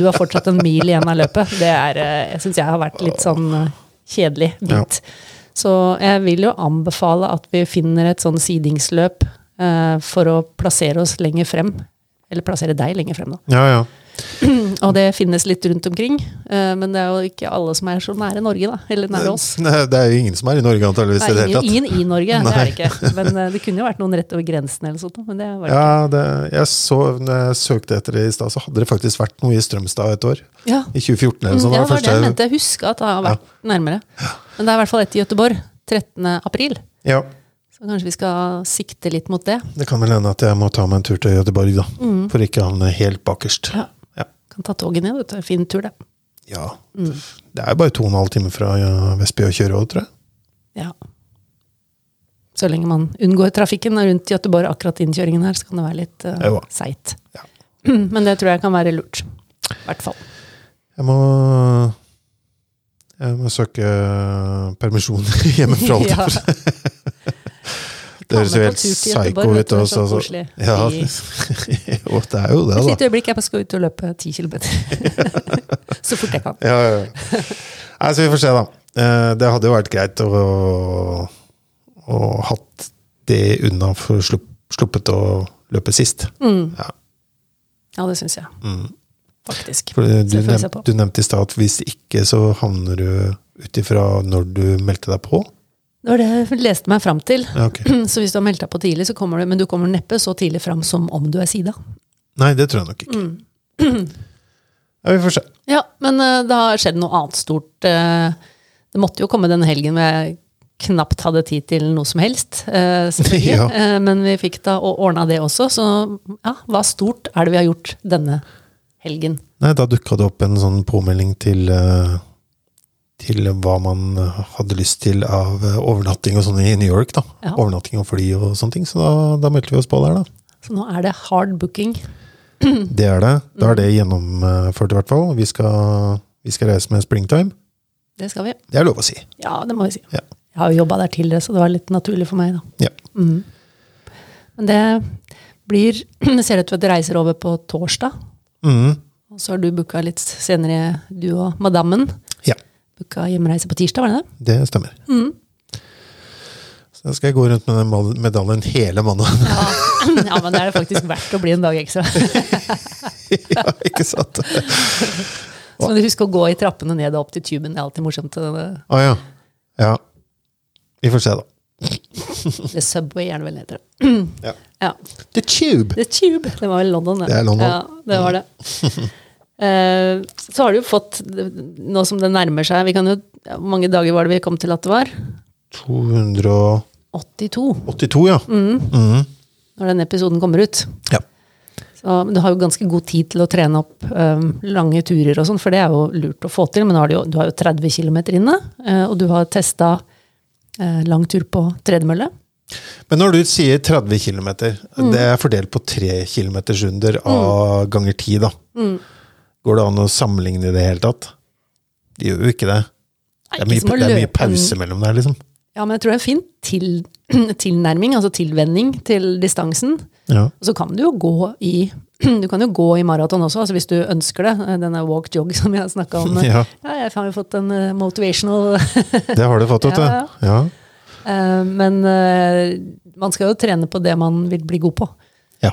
Du har fortsatt en mil igjen av løpet. Det er, eh, jeg syns jeg har vært litt sånn eh, kjedelig bit. Så jeg vil jo anbefale at vi finner et sånn sidingsløp eh, for å plassere oss lenger frem. Eller plassere deg lenger frem, da. Ja, ja. Og det finnes litt rundt omkring, eh, men det er jo ikke alle som er så nære Norge, da. Eller nære oss. Nei, *laughs* Det er jo ingen som er i Norge, antageligvis. i Nei, det hele ingen, tatt. ingen i Norge, det er Nei. det ikke. Men eh, det kunne jo vært noen rett over grensen eller sånt, men det var det Ja, det, jeg så, når jeg søkte etter det i stad, så hadde det faktisk vært noe i Strømstad et år. ikke. Ja. I 2014 eller Mm, noe sånt. ja, var det var det første- jeg mente. Jeg husker at det har vært nærmere. Men det er i hvert fall et i Gøteborg. 13. april. Ja, Så kanskje vi skal sikte litt mot det. det kan vel hende at jeg må ta meg en tur til Göteborg, da. For ikke å havne helt bakerst. Mm. Ja. Ja. Kan ta toget ned, vet du. Fin tur, det. Ja. Mm. Det er jo bare to og en halv time fra ja, Vestby å kjøre òg, tror jeg. Ja. Så lenge man unngår trafikken rundt Gøteborg akkurat innkjøringen her, så kan det være litt eh, Jo da. seigt. Ja. *clears throat* Men det tror jeg kan være lurt. I hvert fall. Jeg må jeg må søke permisjon *laughs* *laughs* hjemmefra. holdt jeg på å si. *laughs* Det høres jo helt psycho ut. Også, altså. altså. Ja, jo, det er jo det, Et da. lite øyeblikk, jeg bare skal ut og løpe ti *laughs* kilometer. så fort jeg kan. Ja, ja, ja. Nei, så vi får se, da. Eh, Det hadde jo vært greit å, å hatt det unna for å slupp- sluppet å løpe sist. Mm. Ja. Ja, det syns jeg. Mm. Faktisk. For du, Så får vi se nev, på. du nevnte i stad at hvis ikke, så havner du ut ifra når du meldte deg på. Det var det jeg leste meg fram til. *clears throat* Ja, ok. Så hvis du har meldt deg på tidlig, så kommer du, men du kommer neppe så tidlig fram som om du er sida. Nei, det tror jeg nok ikke. Mm. Ja, vi får se. Ja, men eh, det har skjedd noe annet stort. eh, det måtte jo komme den helgen hvor jeg knapt hadde tid til noe som helst. eh, selvfølgelig. *laughs* Ja. Eh, men vi fikk da og ordna det også, så ja, hva stort er det vi har gjort denne helgen? Nei, da dukka det opp en sånn påmelding til eh, til hva man hadde lyst til av eh, overnatting og sånn i New York. da. Ja. Overnatting og fly og sånne ting. Så da, da meldte vi oss på der, da. Så nå er det hard booking. Det er det. Da er det gjennomført, i hvert fall. Vi skal, vi skal reise med springtime. Det skal vi. Det er lov å si. Ja, det må vi si. Ja. Jeg har jo jobba der tidligere, så det var litt naturlig for meg, da. Mm. Ja. Men det blir *clears throat* Ser det ut til at det reiser over på torsdag. Mhm. Og så har du booka litt senere, du og madammen. ja. Booka hjemreise på tirsdag, var det det? Det stemmer. Så da skal jeg gå rundt med den mal- medaljen hele mandagen. Ja. ja, men det er det faktisk verdt å bli en dag ekstra. *laughs* ja, ikke sant? Å Så må du huske å gå i trappene ned og opp til tuben. Det er alltid morsomt. Det- ja. Ja. Vi får se, da. The Subway er det vel heter. Ja. Ja. The Tube! The Tube. Det var vel London, det. Det er London. Ja, det var det. Eh, Så har du jo fått, nå som det nærmer seg vi kan jo, Hvor mange dager var det vi kom til at det var? 282, 82, ja. Mm. Mm. når den episoden kommer ut. Ja. Så Så, men du har jo ganske god tid til å trene opp øhm, lange turer og sånn, for det er jo lurt å få til. Men nå har du, jo, du har jo 30 km inne, eh, og du har testa eh, lang tur på tredemølle. Men når du sier 30 km, Mm. det er fordelt på 3 km runder av ganger 10, da. Mm. Går det an å sammenligne i det hele tatt? Det gjør jo ikke det. Nei, Det er ikke som mye, å det er mye løpe en- pause mellom der, liksom. Ja, men jeg tror det er en fin til, *clears throat* tilnærming, altså tilvenning til distansen. Ja. Og så kan du jo gå i *clears throat* du kan jo gå i maraton også, altså hvis du ønsker det. eh, Denne walk-jog som jeg snakka om. *laughs* Ja. Ja, jeg har jo fått en eh, motivational *laughs* Det har du fått, vet Ja, du. Ja. eh, Men eh, man skal jo trene på det man vil bli god på. ja.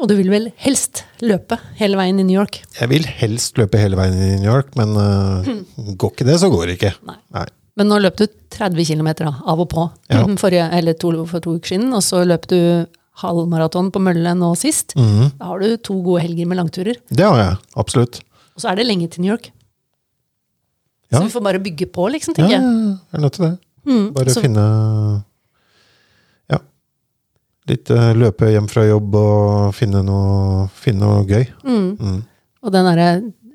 Og du vil vel helst løpe hele veien i New York? Jeg vil helst løpe hele veien i New York, men øh, Hmm. går ikke det, så går det ikke. Nei. Nei. Men nå løp du 30 km av og på Mm, Ja. Forrige, eller to, for to uker siden, og så løp du halvmaraton på Mølle nå Mm. sist. Da har du to gode helger med langturer. Mhm. Det har jeg, absolutt. Og så er det lenge til New York. Ja. Så vi får bare bygge på, liksom, Ja, tenker jeg. jeg er nødt til det. Mm, Bare så- finne ja, litt øh, løpe hjem fra jobb og finne noe, finne noe gøy. Mm. Og den derre,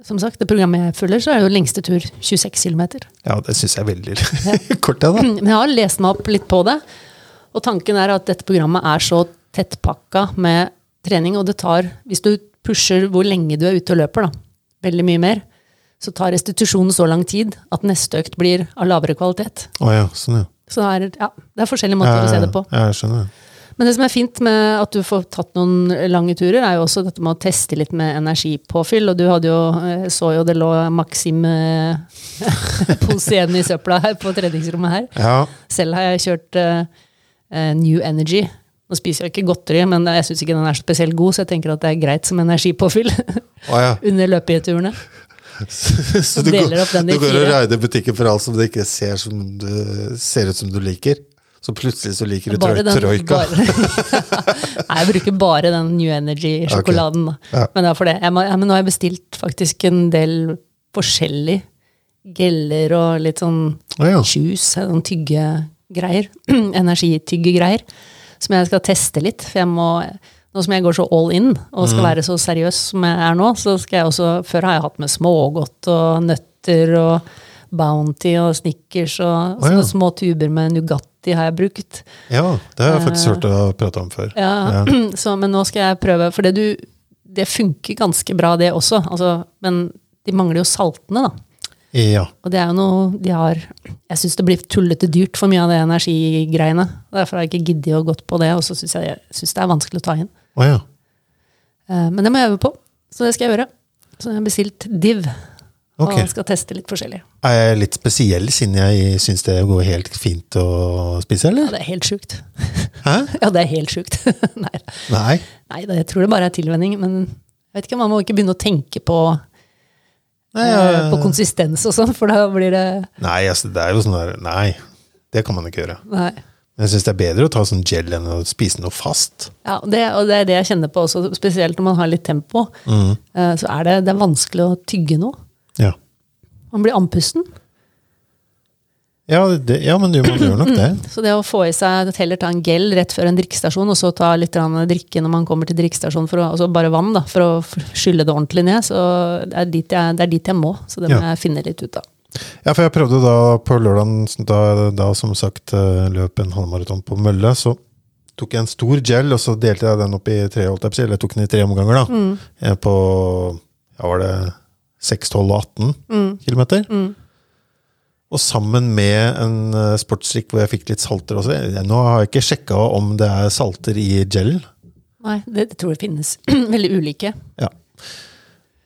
som sagt, det programmet jeg følger, så er jo lengste tur 26 km. Ja, det syns jeg er veldig *laughs* kort, jeg, da. *clears throat* Men jeg har lest meg opp litt på det. Og tanken er at dette programmet er så tettpakka med trening, og det tar Hvis du pusher hvor lenge du er ute og løper, da, veldig mye mer, så tar restitusjonen så lang tid at neste økt blir av lavere kvalitet. Å ja, sånn, ja. Så det er, ja, det er forskjellige måter å se det på. Ja, jeg skjønner. Men det som er fint med at du får tatt noen lange turer, er jo også dette med å teste litt med energipåfyll. Og du hadde jo, eh, så jo det lå Maxim eh, *laughs* pose igjen i søpla her på treningsrommet her. Ja, Selv har jeg kjørt eh, eh, New Energy. Nå spiser jeg ikke godteri, men jeg syns ikke den er spesielt god, så jeg tenker at det er greit som energipåfyll *laughs* å ja. under løpeturene. Så du, deler går- opp den i du går og fire. raider butikken for alt som du ikke ser, som du, ser ut som du liker. Så plutselig så liker du troi- troika. bare- *laughs* Nei, jeg bruker bare den New Energy-sjokoladen. da. Ja. Men det er for det. Jeg må, ja, men nå har jeg bestilt faktisk en del forskjellig. Geller og litt sånn Å ja. juice, sånn *clears throat* tyggegreier. Energityggegreier. Som jeg skal teste litt. For jeg må, nå som jeg går så all in og Mm. skal være så seriøs som jeg er nå, så skal jeg også Før har jeg hatt med smågodt og nøtter og Bounty og Snickers og Å ja. sånne små tuber med Nugatti har jeg brukt. Ja, det har jeg faktisk hørt deg prate om før. Eh. Ja, *clears throat* så, men nå skal jeg prøve, for det, du, det funker ganske bra det også, altså, men de mangler jo saltene da. Ja. Og det er jo noe de har, jeg synes det blir tullete dyrt for mye av det energigreiene. Derfor har jeg ikke giddet å gått på det, og så synes jeg, jeg synes det er vanskelig å ta inn. Å ja. Eh, Men det må jeg øve på, så det skal jeg gjøre. Så jeg har bestilt div, og Ok. skal teste litt forskjellig. Er jeg litt spesiell siden jeg syns det går helt fint å spise, Ja, eller? det er helt sjukt. Hæ? *laughs* Ja, det er helt sjukt. Nei, Nei. Nei da, jeg tror det bare er tilvenning, men jeg vet ikke, man må ikke begynne å tenke på Nei, eh, på jeg- konsistens og sånn, for da blir det nei altså, det er jo sånn der Nei, det kan man ikke gjøre. Nei. Men jeg syns det er bedre å ta sånn gel enn å spise noe fast. Ja, det, og det er det jeg kjenner på også, spesielt når man har litt tempo. Mm. eh, Så er det, det er vanskelig å tygge noe. Ja, Man blir andpusten. ja, det, ja men du man gjør nok det. Så det å få i seg at heller ta en gel rett før en drikkestasjon, og så ta litt grann drikke når man kommer til drikkestasjonen, for å, altså bare vann, da, for å f- skylle det ordentlig ned, så det er dit jeg, det er dit jeg må. Så det må Ja. jeg finne litt ut av. Ja, for jeg prøvde da på lørdagen, da, da som sagt eh, løp en halvmaraton på Mølle, så tok jeg en stor gel, og så delte jeg den opp i tre, holdt jeg på å si, eller jeg tok den i tre omganger da, Eh, på, ja var det 6, 12 og 18 kilometer. Og sammen med en eh, sportsdrikk hvor jeg fikk litt salter også. Jeg- Nå har jeg ikke sjekket om det er salter i gel. Nei, det, det tror jeg finnes *clears throat* veldig ulike. Ja.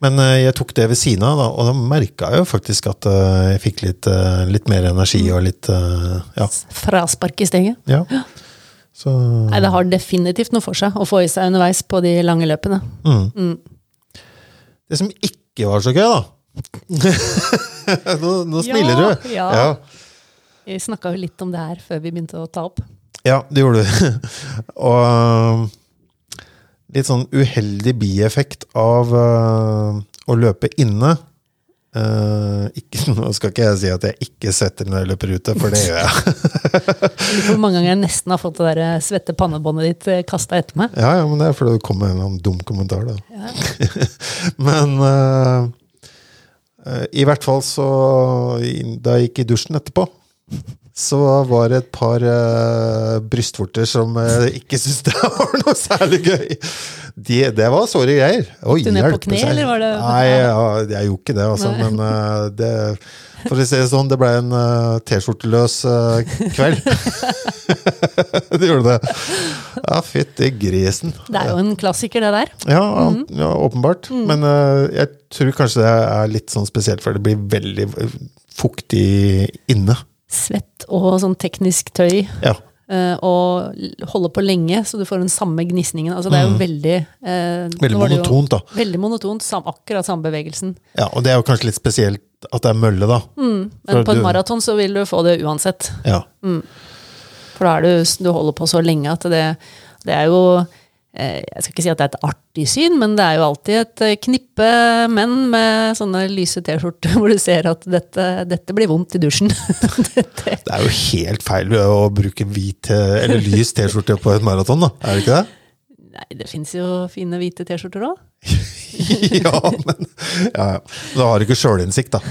Men eh, jeg tok det ved siden av, da, og da merka jeg jo faktisk at eh, jeg fikk litt, eh, litt mer energi og litt eh, ja, Fraspark i steget. Ja. Så Nei, det har definitivt noe for seg å få i seg underveis på de lange løpene. Det som ikke var så gøy, da *laughs* Nå, nå Ja, smiler du. ja. ja. Vi snakka jo litt om det her før vi begynte å ta opp. Ja, det gjorde du. *laughs* og eh, øhm, litt sånn uheldig bieffekt av øh, å løpe eh, inne Eh, ikke, *laughs* nå skal ikke jeg si at jeg ikke svetter når jeg løper ute, for det gjør jeg. Lurer på Hvor mange ganger jeg nesten har fått det der eh, svette pannebåndet ditt kasta etter meg. Ja, ja, men det er fordi det kommer en eller annen dum kommentar, da. *laughs* men eh, eh, i hvert fall så i- Da jeg gikk i dusjen etterpå, så var det et par eh, brystvorter som eh, ikke syntes det *laughs* var noe særlig gøy. De, det var såre greier. Oi, du ned på hjelpe kne, seg. eller var det- Nei, ja, jeg gjorde ikke det, altså. Nei. Men eh, det, for å si det sånn, det ble en eh, T-skjorteløs eh, kveld. *laughs* det gjorde det. Ja, fytti grisen. Det er jo en klassiker, det der. Ja, Mhm. ja åpenbart. Mm. Men eh, jeg tror kanskje det er litt sånn spesielt, for det blir veldig fuktig inne. Svett og sånn teknisk tøy. Ja. eh, og l- holde på lenge, så du får den samme gnisningen. Altså, det er jo veldig eh, Mm. Veldig nå var det jo monotont, da. Veldig monotont. Sam, akkurat samme bevegelsen. ja. Og det er jo kanskje litt spesielt at det er mølle, da. Mm, Men For på en du- maraton så vil du få det uansett. Ja. For da er du, du holder på så lenge at det, det er jo eh, Jeg skal ikke si at det er et artig syn, men det er jo alltid et eh, knippe menn med sånne lyse T-skjorter *laughs* hvor du ser at dette, dette blir vondt i dusjen. *laughs* dette. Det er jo helt feil å bruke hvit eh, eller lys T-skjorte på et maraton, da. Er det *laughs* ikke det? Nei, det fins jo fine hvite T-skjorter òg. ja, men ja, ja. Da har du ikke *laughs* sjølinnsikt, da.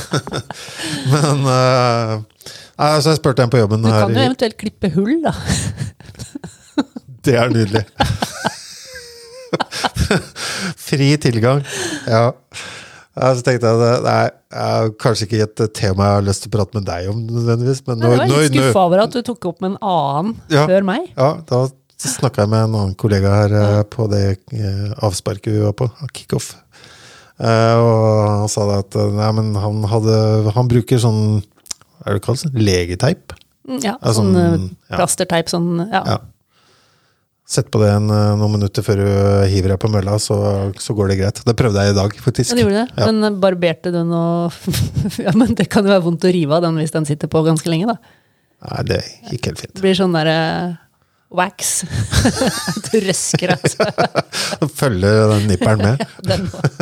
*laughs* men eh, nei, altså Jeg spurte en på jobben Du her. kan jo i- eventuelt klippe hull, da. *laughs* Det er nydelig. *laughs* Fri tilgang. Ja. Ja, så tenkte jeg at nei, jeg har kanskje ikke et tema jeg har lyst til å prate med deg om nødvendigvis, men Nei, nå, det var jeg litt nå- nå- skuffa over at du tok opp med en annen Ja. før meg. Ja, da snakka jeg med en annen kollega her eh, på det eh, avsparket vi var på, kickoff. Eh, Og han sa det at eh, nei, men han hadde Han bruker sånn Hva er det det kalles? Legeteip? Mm, Ja, Ja, sånn, sånn, eh, ja. plasterteip, sånn ja. Ja. Sett på det en, eh, noen minutter før du hiver deg på mølla, så, så går det greit. Det prøvde jeg i dag, faktisk. Men det gjorde det. Ja. Men barberte du noe *laughs* Ja, men det kan jo være vondt å rive av den hvis den sitter på ganske lenge, da. Nei, det gikk helt fint. *laughs* Det blir sånn derre wax. *laughs* du røsker deg. så Følger den nipperen *laughs* med. Den var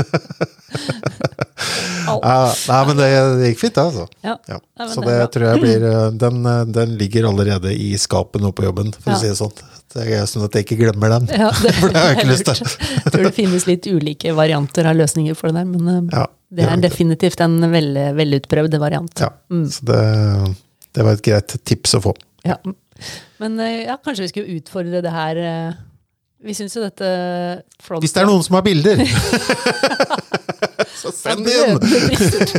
Au. Ja, nei, men det, det gikk fint, det, altså. Ja. Ja. Nei, men Så det det er bra. tror jeg blir eh, den, eh, den ligger allerede i skapet nå på jobben, for Ja. å si det sånn. Det er sånn at jeg ikke glemmer den. Ja, det, *laughs* For det har jeg ikke det er lyst til. lurt. Jeg tror det finnes litt ulike varianter av løsninger for det der, men eh, Ja, det gjør er nok det. definitivt en vel, velutprøvd variant. Ja, Mm, så det, det var et greit tips å få. Ja. Men eh, ja, kanskje vi skulle utfordre det her eh, Vi syns jo dette front- Hvis det er noen som har *laughs* bilder, *laughs* så Ja, send det inn! blødende bryster.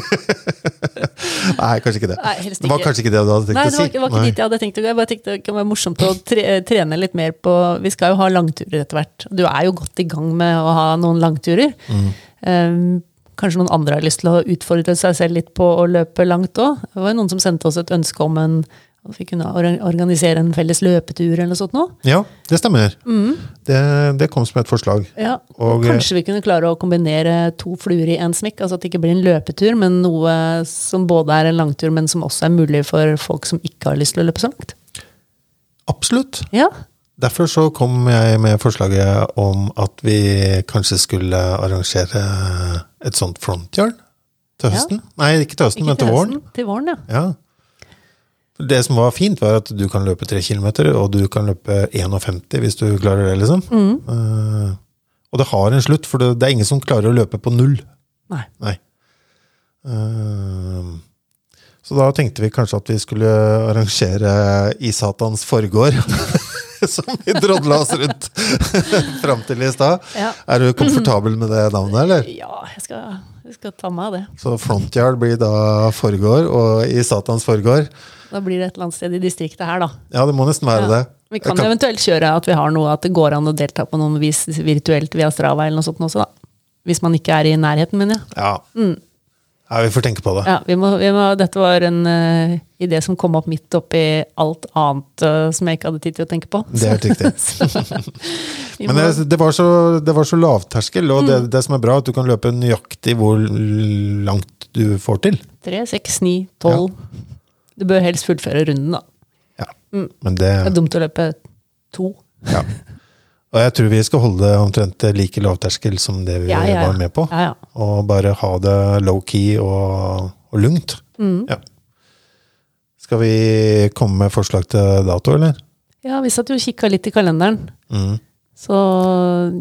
Nei, kanskje ikke det. *laughs* Nei, helst Det var ikke. kanskje ikke det du hadde tenkt Nei, å det si? var ikke, var ikke dit jeg hadde tenkt å gå. Jeg bare tenkte det kan være morsomt å tre, trene litt mer på Vi skal jo ha langturer etter hvert. Du er jo godt i gang med å ha noen langturer. Mm. Eh, kanskje noen andre har lyst til å utfordre seg selv litt på å løpe langt òg. Det var jo noen som sendte oss et ønske om en at vi kunne or- organisere en felles løpetur eller noe sånt nå. Ja, det stemmer. Det, det kom som et forslag. Mm. Ja, Og, og eh, kanskje vi kunne klare å kombinere to fluer i én smekk. Altså at det ikke blir en løpetur, men noe som både er en langtur, men som også er mulig for folk som ikke har lyst til å løpe så langt. Absolutt. Ja, Derfor så kom jeg med forslaget om at vi kanskje skulle arrangere et sånt frontyard til Ja. høsten. Nei, ikke til høsten, ikke men til våren. høsten, Til våren, ja. Ja. Det som var fint, var at du kan løpe tre kilometer, og du kan løpe 51 hvis du klarer det, liksom. Eh, og det har en slutt, for det, det er ingen som klarer å løpe på null. Nei. Nei. Eh, så da tenkte vi kanskje at vi skulle arrangere I Satans forgård. *laughs* Som vi drodla oss rundt *laughs* fram til i stad. Ja. Er du komfortabel med det navnet, eller? Ja, jeg skal, jeg skal ta meg av det. Så Frontyard blir da forgård, og I Satans forgård Da blir det et eller annet sted i distriktet her, da. Ja, det må nesten være det. Vi kan, Jeg eventuelt kjøre at vi har noe at det går an å delta på noen vis virtuelt via Strava eller noe sånt også, da. Hvis man ikke er i nærheten, mener jeg. Ja. ja, vi får tenke på det. Mm. Ja, vi må, vi må, dette var en eh, idé som kom opp midt oppi alt annet eh, som jeg ikke hadde tid til å tenke på. Det er helt riktig. *laughs* Vi Men må, Mm. det, det, var så, det var så lavterskel, og det, det som er bra, er at du kan løpe nøyaktig hvor langt du får til. 3, 6, 9, 12. Du bør helst fullføre runden, da. Ja. Men det Det er dumt å løpe to. ja. Og jeg tror vi skal holde det omtrent like lavterskel som det vi Ja, ja, ja. var med på. Ja, ja. Og bare ha det low-key og, og lungt. Mm. Ja. Skal vi komme med forslag til dato, eller? Ja, vi satt jo og kikka litt i kalenderen. Mm. Så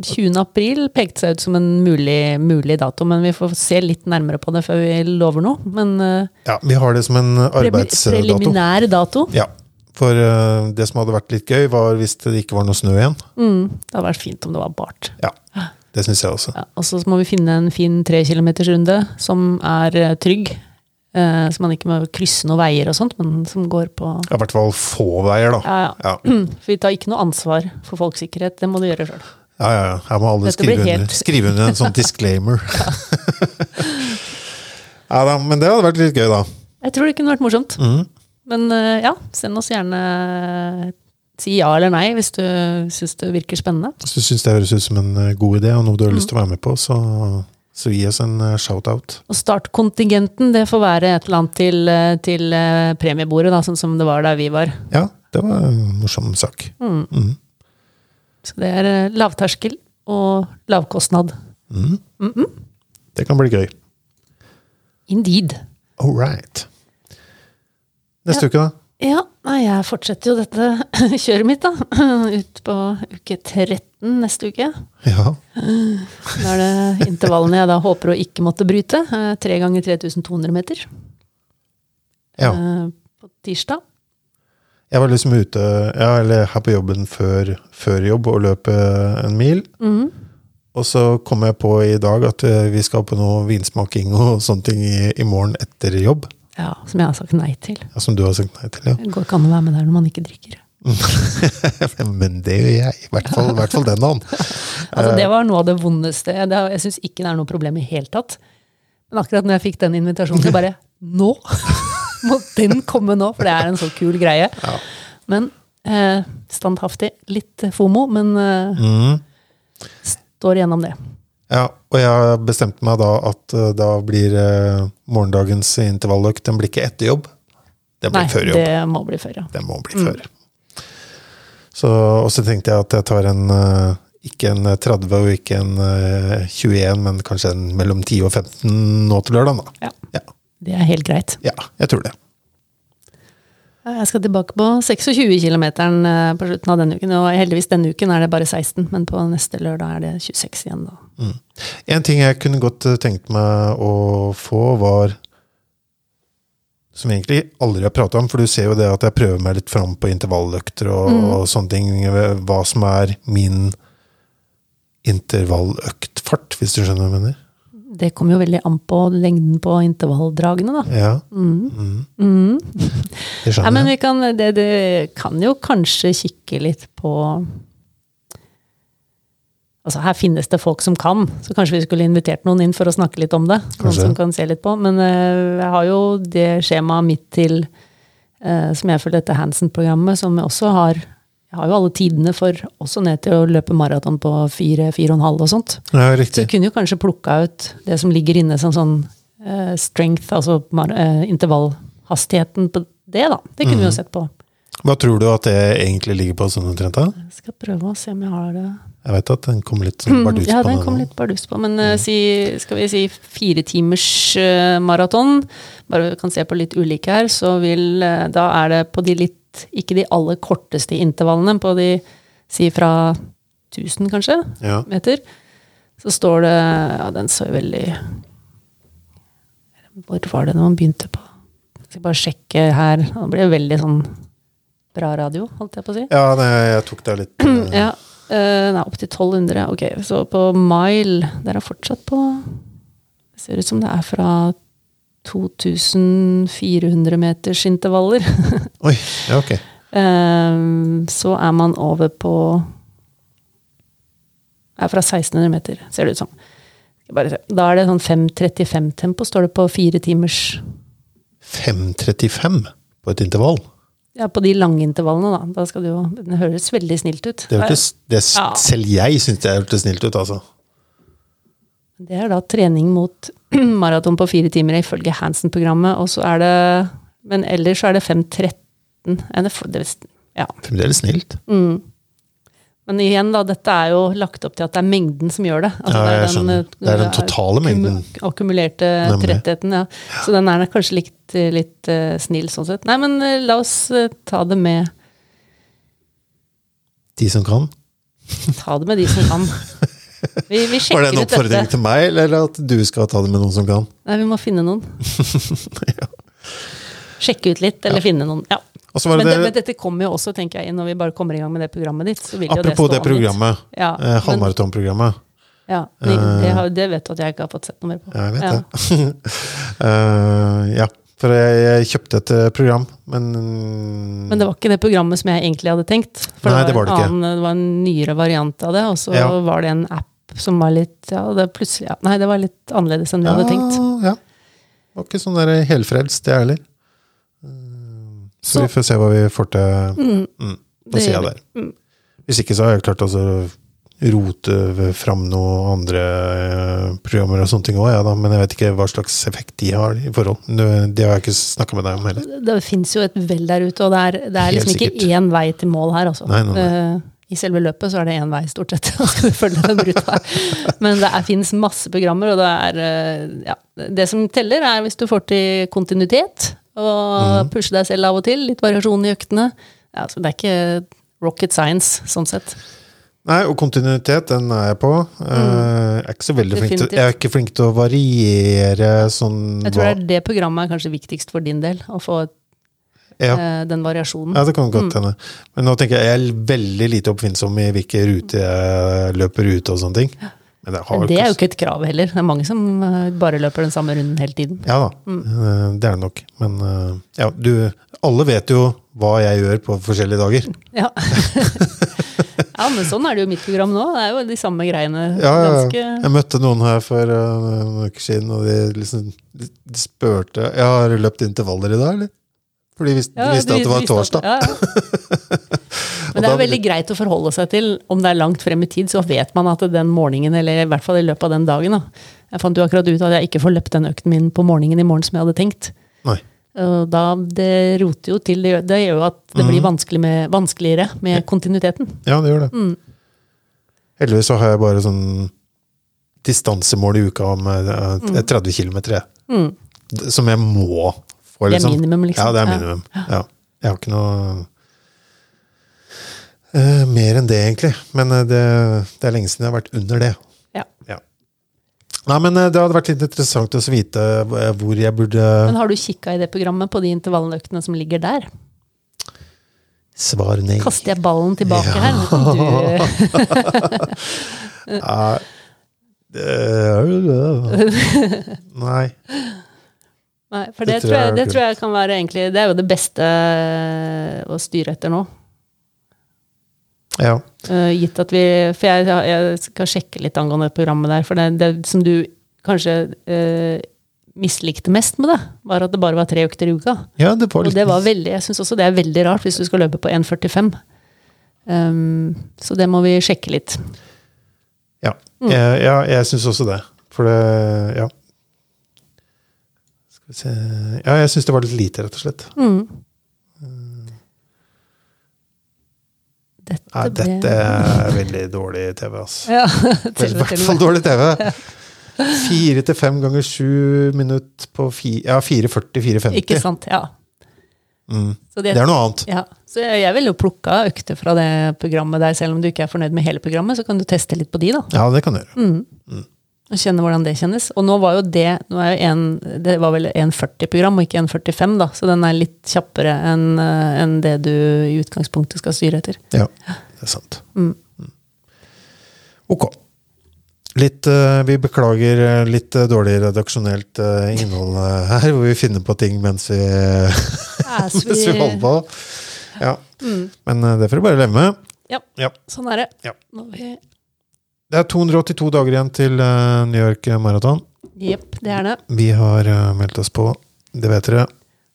20. april pekte seg ut som en mulig, mulig dato, men vi får se litt nærmere på det før vi lover noe. Men eh, Ja, vi har det som en premi- arbeidsdato. preliminær dato. Ja, for eh, det som hadde vært litt gøy, var hvis det ikke var noe snø igjen. Mm, det hadde vært fint om det var bart. Ja, det syns jeg også. Ja, og så må vi finne en fin tre kilometers runde som er eh, trygg. eh, så man ikke må krysse noen veier og sånt, men som går på Ja, I hvert fall få veier, da. ja, ja. Ja, For vi tar ikke noe ansvar for folks sikkerhet, det må du gjøre sjøl. ja, ja. ja. Her må alle Dette blir skrive under, helt- skrive under en *laughs* sånn disclaimer. *laughs* ja da, men det hadde vært litt gøy, da. Jeg tror det kunne vært morsomt. Mm. Men eh, ja, send oss gjerne Si ja eller nei hvis du syns det virker spennende. Hvis du syns det høres ut som en eh, god idé, og noe du har lyst Mm. til å være med på, så, så gi oss en eh, shout-out. Og startkontingenten, det får være et eller annet til, eh, til eh, premiebordet, da, sånn som det var der vi var. Ja, det var en morsom sak. Mm. Så det er eh, lavterskel og lavkostnad. Mm. Det kan bli gøy. Indeed. All right. Neste uke, da? Ja, nei, jeg fortsetter jo dette *laughs* kjøret mitt, da. *clears throat* Ut på uke 13 neste uke. Ja. Da er det intervallene jeg da håper å ikke måtte bryte. eh, Tre ganger 3200 meter ja. eh, på tirsdag. Jeg var liksom ute, ja, eller her på jobben før, før jobb og løp eh, en mil. Mm. Og så kom jeg på i dag at eh, vi skal på noe vinsmaking og sånne ting i, i morgen etter jobb. Ja, som jeg har sagt nei til. Ja, som du har sagt nei til, ja. Det går ikke an å være med der når man ikke drikker. Men det gjør jeg. I hvert fall, i hvert fall den dagen. *laughs* Eh. Altså, det var noe av det vondeste. Det, har- jeg syns ikke det er noe problem i hele tatt. Men akkurat når jeg fikk den invitasjonen, så bare *laughs* Nå! Må den komme nå! For det er en så kul greie. Men eh, standhaftig. Litt fomo, men eh, Mm. står igjennom det. Ja, og jeg bestemte meg da at eh, da blir eh, morgendagens intervalløkt, den blir ikke etter jobb. Den blir Nei, før jobb. det Mm. må bli før, ja. Den må bli før. Så, og så tenkte jeg at jeg tar en eh, ikke en 30 og ikke en eh, 21, men kanskje en mellom 10 og 15 nå til lørdag, da. ja. Ja, Det er helt greit. ja jeg tror det. Jeg skal tilbake på 26 km på slutten av denne uken. Og heldigvis denne uken er det bare 16, men på neste lørdag er det 26 igjen, da. En ting jeg kunne godt eh, tenkt meg å få, var Som jeg egentlig aldri har prata om, for du ser jo det at jeg prøver meg litt fram på intervalløkter og, Mm. og sånne ting. Hva som er min intervalløktfart, hvis du skjønner hva jeg mener. Det kommer jo veldig an på lengden på intervalldragene, da. Ja. Mm. Det Nei, skjønner men jeg. vi kan, det, det kan jo kanskje kikke litt på Altså, her finnes det folk som kan, så kanskje vi skulle invitert noen inn for å snakke litt om det. Noen Kanskje. som kan se litt på. Men eh, jeg har jo det skjemaet mitt til eh, som jeg følger dette Hansen-programmet, som jeg også har Jeg har jo alle tidene for også ned til å løpe maraton på fire, fire og en halv og sånt. Ja, Så riktig. vi kunne jo kanskje plukka ut det som ligger inne som sånn eh, strength, altså mar- eh, intervallhastigheten på det, da. Det kunne Mm. vi jo sett på. Hva tror du at det egentlig ligger på sånn omtrent? da? Jeg skal prøve å se om jeg har det Jeg vet at den kom litt sånn bardus Ja, på den kom nå. litt bardus på, men eh, si, skal vi si fire timers eh, maraton, bare vi kan se på litt ulike her, så vil eh, Da er det på de litt Ikke de aller korteste intervallene, på de si fra 1000, kanskje? Ja. meter, så står det Ja, den så jo veldig Hvor var det når man begynte på Jeg skal bare sjekke her. Nå blir det veldig sånn bra radio, holdt jeg på å si. ja, nei, jeg tok deg *clears throat* litt eh, Ja. eh, nei, opptil 1200. Ok, så på mile Der er fortsatt på Det ser ut som det er fra 2400 meters intervaller. Oi, ja, ok. Eh, så er man over på Er fra 1600 meter, ser det ut som. Skal Bare se. Da er det sånn 5.35-tempo, står det på fire timers 5.35 på et intervall. Ja, på de lange intervallene, da. Da skal det jo Det høres veldig snilt ut. Det hørtes, det, Ja. Selv jeg syns det hørtes snilt ut, altså. Det er da trening mot *clears throat* maraton på fire timer ifølge Hansen-programmet, og så er det Men ellers så er det 5.13 Er det for- det- Ja. Fremdeles snilt. Men igjen, da, dette er jo lagt opp til at det er mengden som gjør det. Altså, Ja, jeg det, er skjønner. Det er den totale mengden. kumu- Akkumulerte Nemlig. trettheten, ja. Så den er nok kanskje litt, litt eh, snill sånn sett. Nei, men eh, la oss eh, ta det med De som kan. Ta det med de som kan. *laughs* Vi, vi Var sjekker det en ut oppfordring dette. til meg, eller at du skal ta det med noen som kan? Nei, vi må finne noen. *laughs* Ja. Sjekke ut litt, eller finne noen. Ja. Og så var Men, det det, det- men dette kommer jo også, tenker jeg, inn når vi bare kommer i gang med det programmet ditt. Så vil jo Apropos det det, stå an litt. programmet, Ja, eh, men- halvmaratonprogrammet. Ja, det, det, har, det vet du at jeg ikke har fått sett noe mer på. Ja, jeg vet Ja. det. *laughs* Eh, ja, for jeg, jeg kjøpte et eh, program, men Men det var ikke det programmet som jeg egentlig hadde tenkt. For Nei, det var en det ikke. annen, det var en nyere variant av det, og så Ja. var det en app som var litt ja, det plutselig, ja. Nei, det var litt annerledes enn vi hadde tenkt. Ja, ja. Det var ikke sånn der helfrelst, det heller. Mm, Så, Så- vi får se hva vi får til Mm, mm, på det sida gjør der. Mm. Hvis ikke så har jeg klart å rote fram noen andre eh, programmer og sånne ting òg, ja, da, men jeg vet ikke hva slags effekt de har i forhold. Nå- Det har jeg ikke snakka med deg om heller. det fins jo et vell der ute, og det er, det er Helt liksom ikke sikkert. én vei til mål her, altså. Nei, nei, nei. Eh, I selve løpet så er det én vei, stort sett. *laughs* og skal du følge den ruta. Men det fins masse programmer, og det er eh, ja, Det som teller, er hvis du får til kontinuitet, og Mhm. pushe deg selv av og til, litt variasjon i øktene. Ja, så det er ikke rocket science, sånn sett. Nei, og kontinuitet, den er jeg på. Eh, Jeg er ikke så veldig flink til Mm. Definitivt. Jeg er ikke flink til å variere sånn Jeg tror det hva- er det programmet er kanskje viktigst for din del, å få ja. eh, den variasjonen. ja, det kan Mm. godt hende. Men nå tenker jeg jeg er veldig lite oppfinnsom i hvilke ruter jeg løper ut og sånne ting. Men det, har Men det er jo så- ikke et krav heller. Det er mange som eh, bare løper den samme runden hele tiden. Ja da, Mm. eh, det er det nok. Men eh, ja, du Alle vet jo hva jeg gjør på forskjellige dager. Ja. ja, men sånn er det jo i mitt program nå. Det er jo de samme greiene. Ja, ja, ja. Ganske, Jeg møtte noen her for eh, noen uker siden, og de, liksom, de, de spurte ja, Har du løpt intervaller i dag, eller? For de visste, ja, de visste du at det var visste torsdag. ja, ja. *laughs* Men det er jo veldig greit å forholde seg til. Om det er langt frem i tid, så vet man at den morgenen, eller i hvert fall i løpet av den dagen da. Jeg fant jo akkurat ut at jeg ikke får løpt den økten min på morgenen i morgen som jeg hadde tenkt. Nei. Og da, det roter jo til, det gjør, det gjør jo at det Mhm. blir vanskelig med, vanskeligere med kontinuiteten. Mm. Ja, det gjør det. Heldigvis så har jeg bare sånn distansemål i uka om eh, Mm. t- 30 km, som jeg må få. Det er minimum, liksom. Ja, det er Ja. minimum. Ja. Jeg har ikke noe eh, mer enn det, egentlig. Men eh, det, det er lenge siden jeg har vært under det. Ja. Ja. Nei, men eh, det hadde vært litt interessant å så vite eh, hvor jeg burde Men har du kikka i det programmet på de intervalløktene som ligger der? svare nei. Kaster jeg ballen tilbake Ja. her? Nå kan du *laughs* Ja. *laughs* Eh, Nei. Nei, for det, tror jeg, det er tror jeg kan være egentlig Det er jo det beste eh, å styre etter nå. Ja. Eh, gitt at vi For jeg, jeg skal sjekke litt angående det programmet der. For det, det som du kanskje eh, mislikte mest med det, var at det bare var tre økter i uka. ja, det var Og litt det var veldig Jeg syns også det er veldig rart hvis du skal løpe på 1,45. Um, så det må vi sjekke litt. Ja, Mm. Eh, jeg, Eh, ja, jeg syns også det. For det Ja. Skal vi se Ja, jeg syns det var litt lite, rett og slett. Mm. Eh. Dette, Nei, ble- dette er veldig dårlig TV, altså. *laughs* *laughs* ja, Det er til, I og hvert til fall og med. dårlig TV. Fire til fem ganger sju minutt på fi, Ja, 4.40-4.50. Ikke sant? Ja. Mm. Så Det er noe annet. Ja, så jeg, jeg ville jo plukka økter fra det programmet der, selv om du ikke er fornøyd med hele programmet, så kan du teste litt på de, da. Mm. Ja, det kan du gjøre. Og kjenne hvordan det kjennes. Og nå var jo det nå er jo en, Det var vel 1,40-program, og ikke 1,45, da, så den er litt kjappere enn eh, enn det du i utgangspunktet skal styre etter. Ja, det er sant. Mm. Ok. Litt, eh, vi beklager eh, litt eh, dårlig redaksjonelt eh, innhold eh, her, hvor vi finner på ting mens vi, *laughs* mens altså, vi holder på. Ja. Men eh, det får du bare leve med. Ja, Ja. sånn er det. Ja. Nå er vi- Det er 282 dager igjen til eh, New York Marathon. Jepp, det er det. Vi har eh, meldt oss på, det vet dere.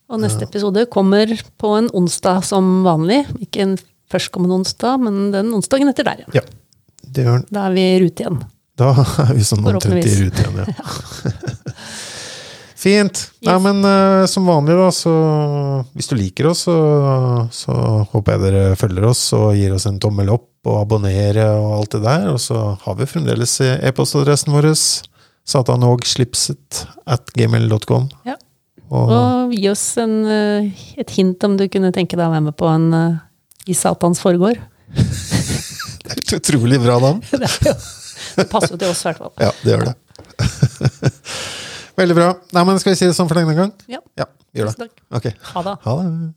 Og neste episode kommer på en onsdag som vanlig. Ikke en førstkommende onsdag, men den onsdagen etter der igjen. Ja, det gjør den. Da er vi i rute igjen. *laughs* Da er vi sånn omtrent i *laughs* Forhåpentligvis. rute igjen, ja. *laughs* Fint. Nei, men eh, som vanlig, da, så hvis du liker oss, så, så håper jeg dere følger oss og gir oss en tommel opp og abonnerer og alt det der. Og så har vi fremdeles e-postadressen vår, satanogshlipset at gmail.com. Ja. Og Og gi oss en, eh, et hint om du kunne tenke deg å være med på en eh, I Satans *laughs* foregår. det er et utrolig bra navn. Det, er jo, det passer jo til oss, i hvert fall. Ja, det gjør det. *laughs* Veldig bra. Nei, men skal vi si det sånn for denne gang? Ja. Ja, vi gjør Tusen det. takk. Ok. Ha det. Ha det.